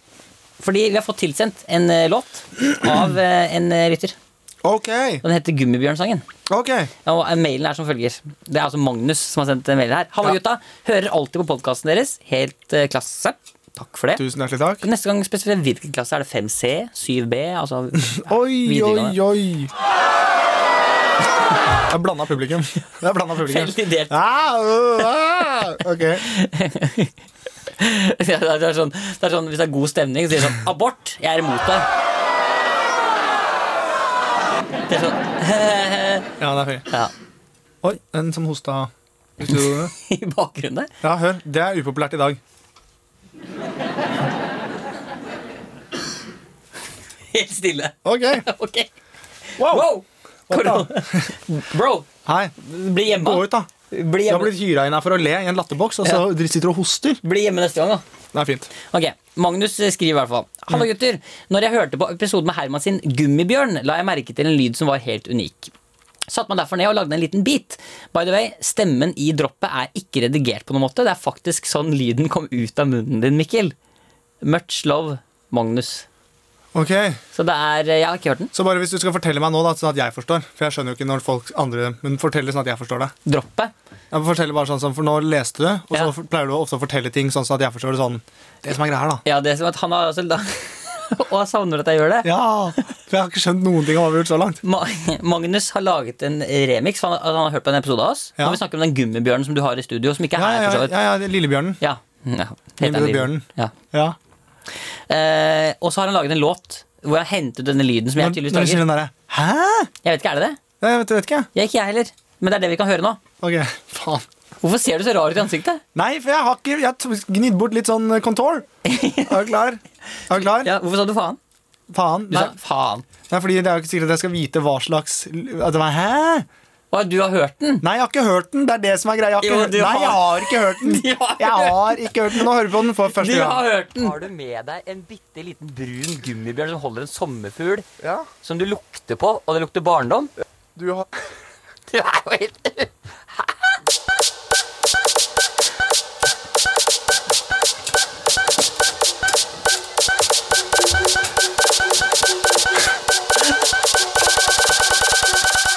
Speaker 3: Fordi vi har fått tilsendt en eh, låt av eh, en eh, lytter.
Speaker 2: Ok,
Speaker 3: Og den heter Gummibjørnsangen.
Speaker 2: ok.
Speaker 3: Og mailen er som følger. Det er altså Magnus som har sendt mailen her. Hallo, gutta. Hører alltid på podkasten deres. Helt eh, klasse. Takk for det.
Speaker 2: Tusen hjertelig takk.
Speaker 3: Neste gang spesifikt hvilken klasse er det 5C, 7B, altså ja,
Speaker 2: Oi, oi,
Speaker 3: videregående.
Speaker 2: oi. Jeg blanda publikum. Jeg blanda publikum.
Speaker 3: Veldig delt.
Speaker 2: Ah, uh, ah. Ok.
Speaker 3: Ja, det, er sånn, det er sånn, Hvis det er god stemning, så sier de sånn Abort! Jeg er imot deg. Det er sånn
Speaker 2: Ja, det er fint.
Speaker 3: Ja.
Speaker 2: Oi, en som hosta. Hvis du gjorde det.
Speaker 3: I bakgrunnen der.
Speaker 2: Ja, hør. Det er upopulært i dag.
Speaker 3: Helt stille.
Speaker 2: Ok.
Speaker 3: Ok.
Speaker 2: Wow.
Speaker 3: Wow!
Speaker 2: Hva da?
Speaker 3: Bro,
Speaker 2: Hei,
Speaker 3: bli hjemme.
Speaker 2: gå ut, da.
Speaker 3: Bli
Speaker 2: Jeg har
Speaker 3: hjemme,
Speaker 2: blitt hyra inn her for å le i en latterboks, og så sitter du og hoster.
Speaker 3: bli hjemme neste gang, da.
Speaker 2: Det er fint.
Speaker 3: Ok, Magnus skriver i hvert fall
Speaker 2: Mm.
Speaker 3: Hallo gutter, når jeg hørte på episoden med Herman sin Gummibjørn La jeg merke til en lyd som var helt unik Satt man derfor ned og lagde en liten bit By the way, stemmen i droppet er ikke redigert på noen måte Det er faktisk sånn lyden kom ut av munnen din, Mikkel Much love, Magnus
Speaker 2: Ok,
Speaker 3: Så det er, jeg har ikke hørt den
Speaker 2: Så bare hvis du skal fortelle meg nå, da, sånn at jeg forstår For jeg skjønner jo ikke når folk andre Men fortell det sånn at jeg forstår det.
Speaker 3: Droppet
Speaker 2: Jeg må fortelle bare sånn som, For nå leste du, og så
Speaker 3: Ja.
Speaker 2: for- pleier du ofte å fortelle ting sånn sånn at jeg forstår det sånn Det som er greia her, da.
Speaker 3: Ja, det er som at han har altså da Og jeg savner at jeg gjør det
Speaker 2: Ja! For jeg har ikke skjønt noen ting av hva vi har gjort så langt.
Speaker 3: Ma Magnus har laget en remix. Han, han har hørt på en episode av oss.
Speaker 2: Ja.
Speaker 3: Når vi snakker om den gummibjørnen som du har i studio, som ikke er
Speaker 2: Ja,
Speaker 3: her.
Speaker 2: ja,
Speaker 3: for så
Speaker 2: ja,
Speaker 3: vidt.
Speaker 2: ja, ja Lillebjørnen.
Speaker 3: Ja. ja. heter han
Speaker 2: Gummibjørnen.
Speaker 3: Ja.
Speaker 2: Ja.
Speaker 3: Eh, og så har han laget en låt hvor han hentet denne lyden som jeg
Speaker 2: Når,
Speaker 3: tydeligvis
Speaker 2: når du sier
Speaker 3: lager.
Speaker 2: den derre Hæ?
Speaker 3: Jeg vet ikke, er det det?
Speaker 2: Jeg vet, vet ikke, jeg.
Speaker 3: Jeg er ikke jeg heller. Men det er det vi kan høre nå.
Speaker 2: Ok, faen.
Speaker 3: Hvorfor ser du så rar ut i ansiktet?
Speaker 2: Nei, for jeg har ikke Jeg har gnidd bort litt sånn kontor. Er du klar? Er du klar?
Speaker 3: Ja, hvorfor sa du faen?
Speaker 2: Faen.
Speaker 3: Du
Speaker 2: Nei,
Speaker 3: sa faen.
Speaker 2: nei, fordi det er jo ikke sikkert at jeg skal vite hva slags at det var, Hæ?
Speaker 3: Å, du har hørt den?
Speaker 2: Nei, jeg har ikke hørt den. Det er det som er greia. Jeg har ikke
Speaker 3: Jo,
Speaker 2: hørt-
Speaker 3: du
Speaker 2: Nei, jeg
Speaker 3: har-
Speaker 2: har ikke hørt den.
Speaker 3: Du har
Speaker 2: Jeg har ikke hørt den. Nå hører vi på den for
Speaker 3: Du
Speaker 2: første gang.
Speaker 3: har hørt den! Har du med deg en bitte liten brun gummibjørn som holder en sommerfugl, som du lukter på, og det lukter barndom?
Speaker 5: Du har
Speaker 3: Du er jo helt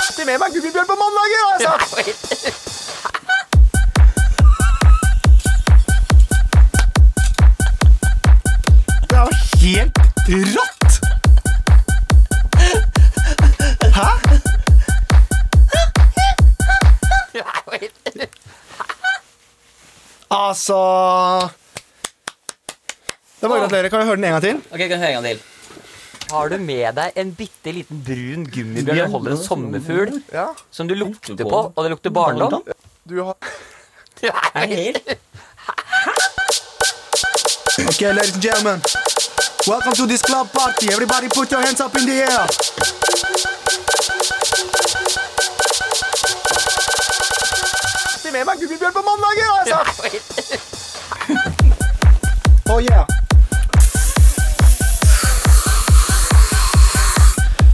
Speaker 5: alltid med meg gummibjørn på mandager! har jeg sagt.
Speaker 2: Det er jo helt rått! Altså Det er bare gratulerer. Kan vi høre den en gang til?
Speaker 3: Ok, kan vi høre en gang til. Har du med deg en bitte liten brun gummibjørn som holder en sommerfugl,
Speaker 5: Ja.
Speaker 3: som du lukter på, og det lukter barndom?
Speaker 5: Du har
Speaker 2: Okay, ladies and gentlemen. Welcome to this club party. Everybody put your hands up in the air.
Speaker 5: alltid med meg gummibjørn på mandager! har jeg sagt.
Speaker 2: Oh yeah.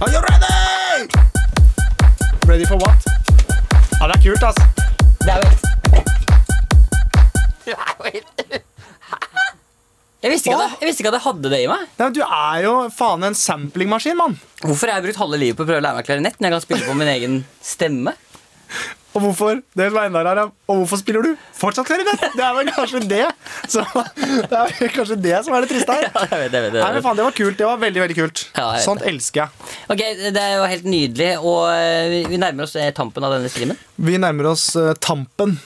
Speaker 2: Are you ready? Ready for what? Ja, det er kult, ass.
Speaker 3: Det er jo helt- Det er jo helt- Jeg visste, ikke at jeg, jeg visste ikke at jeg hadde det i meg.
Speaker 2: Nei, men du er jo faen en samplingmaskin, mann.
Speaker 3: Hvorfor har jeg brukt halve livet på å prøve å lære meg klarinett når jeg kan spille på min egen stemme?
Speaker 2: Og hvorfor det som er enda rarere, og hvorfor spiller du fortsatt klarinett? Det er vel kanskje det som, det er vel kanskje det som er det triste her.
Speaker 3: Ja, jeg vet, jeg vet,
Speaker 2: Nei,
Speaker 3: jeg
Speaker 2: men
Speaker 3: vet.
Speaker 2: faen, Det var kult. Det var veldig veldig kult.
Speaker 3: Ja, jeg vet
Speaker 2: Sånt elsker jeg.
Speaker 3: Ok, Det er jo helt nydelig, og eh, vi- vi nærmer oss eh, tampen av denne streamen.
Speaker 2: Vi nærmer oss eh, tampen.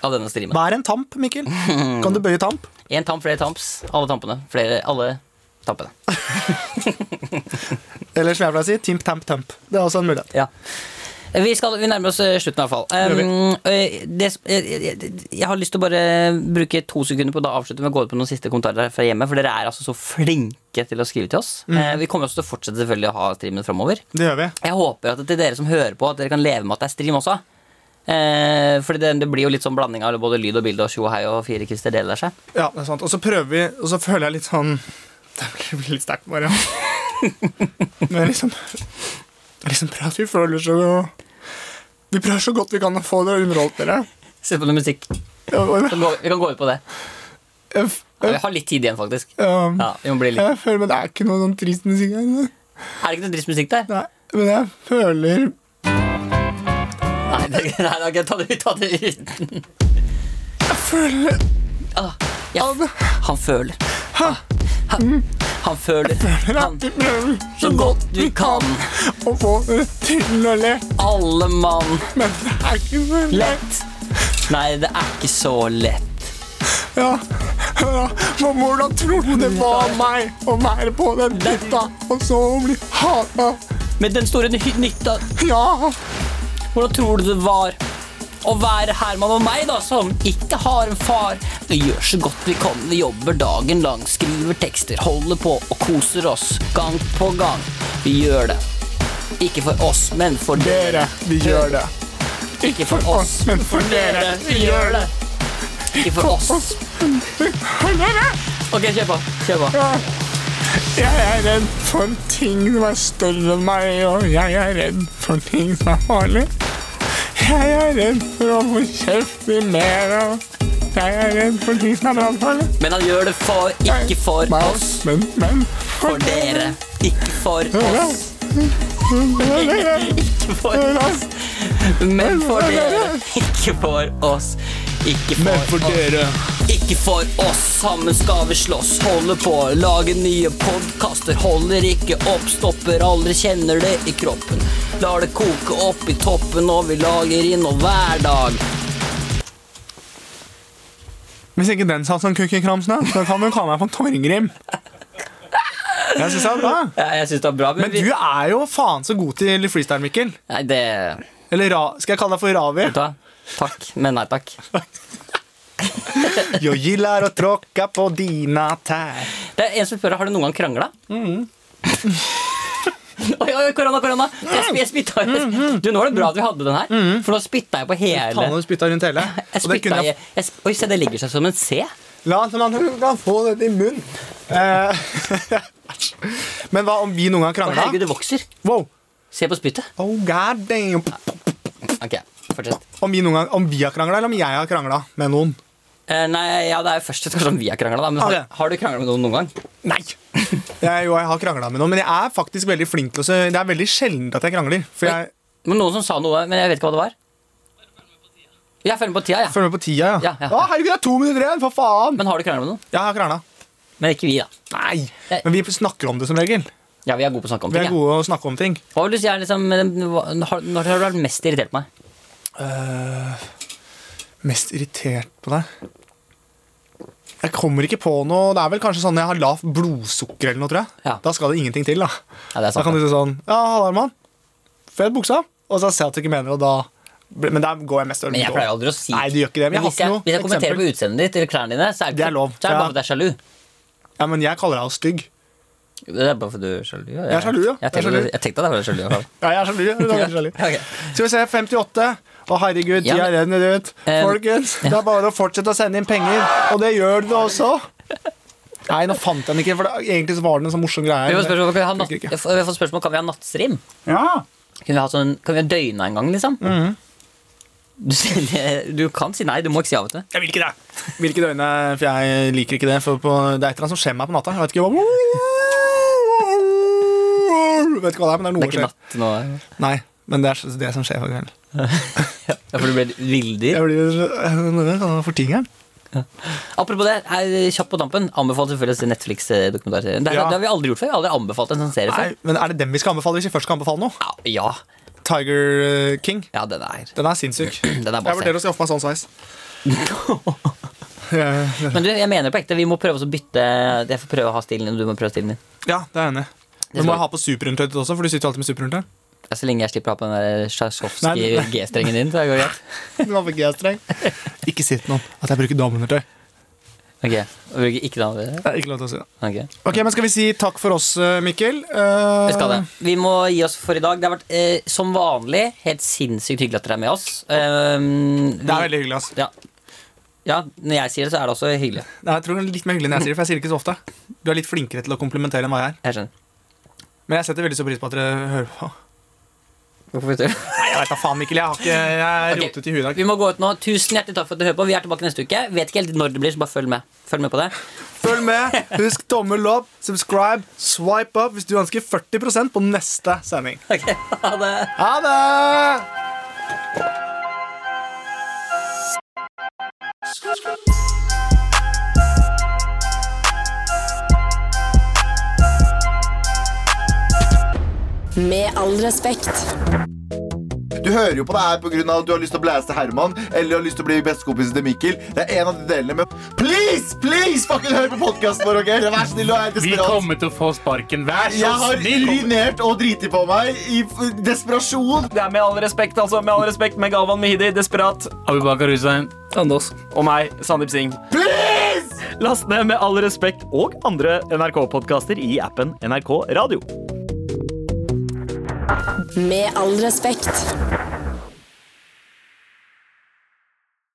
Speaker 3: Av denne streamen.
Speaker 2: Hva er en tamp, Mikkel? Kan du bøye tamp?
Speaker 3: Én tamp, flere tamps. Alle tampene. Flere, alle tampene.
Speaker 2: Eller som jeg pleier å si, timp, tamp, tamp. Det er også en mulighet.
Speaker 3: Ja. Vi, skal, vi nærmer oss eh, slutten, i hvert fall. Um, eh, det, som- eh, jeg, jeg, jeg har lyst til å bare bruke to sekunder på å da avslutte med å gå ut på noen siste kommentarer fra hjemmet. For dere er altså så flinke til å skrive til
Speaker 2: Mm.
Speaker 3: oss. Eh, vi kommer også til å fortsette selvfølgelig å ha streamen framover.
Speaker 2: Det gjør vi.
Speaker 3: Jeg håper at til dere som hører på, at dere kan leve med at det er stream også. Eh, fordi det, det blir jo litt sånn blanding av både lyd og bilde og tjo og hei og fire krister deler seg.
Speaker 2: Ja, det er sant. Og så prøver vi, og så føler jeg litt sånn Det blir litt sterkt, bare. Men liksom Liksom prøver at vi føler så Vi prøver så godt vi kan å få det underholdt dere.
Speaker 3: Se på noe musikk.
Speaker 2: Ja, og-
Speaker 3: Vi kan gå- vi kan gå ut på det.
Speaker 2: Jeg f-
Speaker 3: Ja,
Speaker 2: jeg-
Speaker 3: vi har litt tid igjen, faktisk.
Speaker 2: ja,
Speaker 3: Ja, vi må bli litt.
Speaker 2: jeg føler, Men det er ikke noe sånn trist musikk her.
Speaker 3: Er det ikke noe trist musikk der?
Speaker 2: Nei, men jeg føler
Speaker 3: Nei, det, nei, nei, ok, ta det ut, ta det ut. Jeg føler ah, jeg, Han føler. Ah, Ha, han føler. Han
Speaker 2: Vi prøver
Speaker 3: så godt du kan,
Speaker 2: å få dere til å le,
Speaker 3: alle mann.
Speaker 2: men det er ikke så lett.
Speaker 3: Lett. Nei, det er ikke så lett.
Speaker 2: Ja. Ja, men hvordan tror du det var meg å være på den hytta, og så bli hata?
Speaker 3: Med den store ny- nytta,
Speaker 2: Ja.
Speaker 3: hvordan tror du det var å være Herman og meg, da, som ikke har en far? Vi gjør så godt vi kan, vi jobber dagen lang, skriver tekster, holder på og koser oss gang på gang. Vi gjør det. Ikke for oss, men for dere.
Speaker 2: Dere, vi gjør det.
Speaker 3: Ikke for oss, men for dere. Vi gjør det. Ikke for oss.
Speaker 2: For dere!
Speaker 3: Ok, kjør på. Kjør på.
Speaker 2: Jeg er redd for ting som er større enn meg, og jeg er redd for ting som er farlig. Jeg er redd for å få kjeft i mer, og jeg er redd for ting som er brannfarlig.
Speaker 3: Men han gjør det for, ikke for
Speaker 2: Men-
Speaker 3: oss,
Speaker 2: Men, men
Speaker 3: for dere. Ikke for oss, ikke for oss. Men for dere. Ikke for oss. Ikke for, oss. Ikke for oss, sammen skal vi slåss. Holder på, lager nye podkaster. Holder ikke opp, stopper aldri, kjenner det i kroppen. Lar det koke opp i toppen, og vi lager innhold hver dag.
Speaker 2: Hvis ikke den satt som kukkekramsen, da, så kan du kalle meg for Torgrim. Jeg synes det er bra.
Speaker 3: Ja, jeg syns det var bra, men,
Speaker 2: Men
Speaker 3: vi,
Speaker 2: du er jo faen så god til freestyle, Mikkel.
Speaker 3: Nei, det
Speaker 2: Eller ra skal jeg kalle deg for Ravi?
Speaker 3: Vet du hva? Takk, men nei takk.
Speaker 2: Jeg gillar å tråkke på dina tær.
Speaker 3: Det er en som spør har du noen gang krangla.
Speaker 2: Mm.
Speaker 3: oi, oi, korona, korona! Jeg, sp- jeg spytta
Speaker 2: Mm,
Speaker 3: Du, Nå var det bra at vi hadde den her, for nå spytta jeg på hele
Speaker 2: Faen, du spytta rundt hele.
Speaker 3: jeg
Speaker 2: Og det
Speaker 3: spytta
Speaker 2: kunne
Speaker 3: i
Speaker 2: jeg...
Speaker 3: jeg, sp- Oi, se, det legger seg som en C.
Speaker 2: La som han kan få dette i munnen. Eh, Men hva om vi noen gang
Speaker 3: Å,
Speaker 2: krangla?
Speaker 3: herregud, det vokser.
Speaker 2: Wow.
Speaker 3: Se på spyttet.
Speaker 2: Oh, god damn.
Speaker 3: Ok, fortsett.
Speaker 2: Om vi, noen gang, om vi har krangla, eller om jeg har krangla med noen?
Speaker 3: Eh, nei, ja, det er jo først og fremst om vi har krangla, da. Men har,
Speaker 2: Ok.
Speaker 3: har du krangla med noen noen gang?
Speaker 2: Nei. Jeg, jo, jeg har krangla med noen, men jeg er faktisk veldig flink til å se- Det er veldig sjelden at jeg krangler. For jeg
Speaker 3: Men Noen som sa noe, men jeg vet ikke hva det var. Ja, følg med på tida, ja.
Speaker 2: følger med på tida, ja.
Speaker 3: Ja, ja.
Speaker 2: Å, herregud, det er to minutter igjen! For faen!
Speaker 3: Men har du krangla med noen?
Speaker 2: Jeg har krangla.
Speaker 3: Men ikke vi, da.
Speaker 2: Nei.
Speaker 3: Nei.
Speaker 2: Men vi snakker om det som regel.
Speaker 3: Ja, vi er gode på å snakke om
Speaker 2: Vi
Speaker 3: ting.
Speaker 2: er
Speaker 3: ja.
Speaker 2: gode å snakke om ting.
Speaker 3: Hva vil du si er liksom hva- har- Når har du vært mest irritert på meg?
Speaker 2: Mest irritert på deg? Jeg kommer ikke på noe. Det er vel kanskje sånn jeg har lavt blodsukker eller noe, tror jeg.
Speaker 3: Ja.
Speaker 2: Da skal det ingenting til, da.
Speaker 3: Ja, det er
Speaker 2: Da
Speaker 3: sant.
Speaker 2: kan du si sånn Ja, Hallarmann. Fet buksa. Og så ser jeg at du ikke mener det, og da blir- Men der går jeg mest
Speaker 3: Men jeg pleier aldri å si
Speaker 2: Nei, du gjør ikke det. Men jeg har
Speaker 3: hvis, jeg,
Speaker 2: ikke noe
Speaker 3: hvis jeg kommenterer på
Speaker 2: eksempel.
Speaker 3: utseendet ditt eller klærne dine, så er det,
Speaker 2: Det er lov,
Speaker 3: Så er det
Speaker 2: ja.
Speaker 3: bare fordi jeg er sjalu.
Speaker 2: Ja, men jeg kaller deg stygg.
Speaker 3: Det er bare fordi du er sjalu. Jeg,
Speaker 2: er sjalu, ja.
Speaker 3: Jeg
Speaker 2: Jeg er
Speaker 3: tenkte,
Speaker 2: sjalu.
Speaker 3: jeg tenkte at jeg var sjalu. i hvert fall.
Speaker 2: Ja, jeg er sjalu. Du er veldig sjalu.
Speaker 3: Ja, ok.
Speaker 2: Skal vi se, 58. Å, herregud,
Speaker 3: Ja,
Speaker 2: tida
Speaker 3: men-
Speaker 2: renner ut.
Speaker 3: Eh,
Speaker 2: Folkens, det er bare å fortsette å sende inn penger, og det gjør dere også. Nei, nå fant jeg den ikke, for det, egentlig så var det en sånn morsom greie.
Speaker 3: Vi får spørsmål, kan vi ha
Speaker 2: Funker
Speaker 3: natt,
Speaker 2: ikke.
Speaker 3: jeg får- jeg får spørsmål Kan vi ha nattsrim?
Speaker 2: Ja. Mhm.
Speaker 3: Kan vi ha sånn, kan vi ha døgna en gang, liksom? du, sier det- du kan si nei, du må ikke si ja, vet du.
Speaker 2: Jeg vil ikke det. Hvilke døgn er For jeg liker ikke det. For på, det er et eller annet som skjer meg på natta. Jeg vet ikke hva Vet ikke hva det er, men det er noe som
Speaker 3: Det er ikke
Speaker 2: skjer.
Speaker 3: natt nå.
Speaker 2: Nei, men det er det som skjer på kvelden.
Speaker 3: Ja, for du ble villdyr.
Speaker 2: Jeg blir sånn for tingeren.
Speaker 3: Apropos det, er kjapt på tampen. Anbefaler selvfølgelig å se Netflix-dokumentarserien. Det, er-
Speaker 2: Ja.
Speaker 3: det har vi aldri gjort før. Vi har aldri anbefalt en sånn serie
Speaker 2: Nei,
Speaker 3: før.
Speaker 2: men er det dem vi skal anbefale hvis vi først skal anbefale noe?
Speaker 3: Ja, ja.
Speaker 2: Tiger eh, King.
Speaker 3: ja, den er
Speaker 2: Den er sinnssyk.
Speaker 3: Den er
Speaker 2: Jeg
Speaker 3: bare
Speaker 2: vurderer å skaffe meg sånn sveis. Eh,
Speaker 3: Men du, jeg mener på ekte, vi må prøve oss å bytte Jeg får prøve å ha stilen din, og du må prøve stilen din.
Speaker 2: ja, det er jeg enig i.
Speaker 3: skal
Speaker 2: Men må
Speaker 3: du-
Speaker 2: jeg ha på superundertøyet også, for du sitter jo alltid med superundertøy.
Speaker 3: Ja, Så lenge jeg slipper å ha på den der
Speaker 2: Nei,
Speaker 3: Tsjajkovskij
Speaker 2: men-
Speaker 3: G-strengen din, så går det greit.
Speaker 2: Du var på G-streng. Ikke si til noen at jeg bruker dameundertøy.
Speaker 3: Ok, og bruker ikke den andre.
Speaker 2: Det er ikke lov til å si det.
Speaker 3: Ok.
Speaker 2: Ok, men Skal vi si takk for oss, eh, Mikkel? Eh,
Speaker 3: Vi skal det. Vi må gi oss for i dag. Det har vært eh, som vanlig helt sinnssykt hyggelig at dere er med oss. Um,
Speaker 2: Det er veldig hyggelig. ass
Speaker 3: Ja. ja, når jeg sier det, så er det også hyggelig.
Speaker 2: Nei, jeg tror det er litt mer hyggelig enn jeg sier det, for jeg sier det ikke så ofte. Du er litt flinkere til å komplimentere enn hva jeg er.
Speaker 3: Jeg skjønner.
Speaker 2: Men jeg setter veldig stor pris på at dere hører på.
Speaker 3: Hvorfor vet du?
Speaker 2: Nei, jeg vet da faen, Mikkel. Jeg har ikke Jeg er
Speaker 3: Ok.
Speaker 2: rotet i huet i dag.
Speaker 3: Vi må gå ut nå. Tusen hjertelig takk for at du hører på. Vi er tilbake neste uke. Vet ikke helt når det blir, så bare følg med. Følg med på det.
Speaker 2: Følg med. Husk tommel opp, subscribe, swipe up hvis du ønsker 40 på neste sending.
Speaker 3: Ok, ha det.
Speaker 2: Ha det!
Speaker 1: Med all respekt.
Speaker 4: Du hører jo på det her pga. at du har lyst til å blæste Herman eller har lyst til å bli bestekompisen til Mikkel. Det er en av de delene, men please, please, fucking hør på podkasten vår, OK? Vær snill og er
Speaker 7: Vi
Speaker 4: desperat.
Speaker 7: kommer til å få sparken. Vær så
Speaker 4: Jeg har
Speaker 7: snill!
Speaker 4: urinert og driti på meg i f- desperasjon.
Speaker 8: Det er med all respekt, altså. Med all respekt med Galvan Mehidi, Desperat,
Speaker 7: Abubakar Hussein.
Speaker 8: og meg, Sandeep Singh. Please! Last ned Med all respekt og andre NRK-podkaster i appen NRK Radio.
Speaker 1: Med all respekt.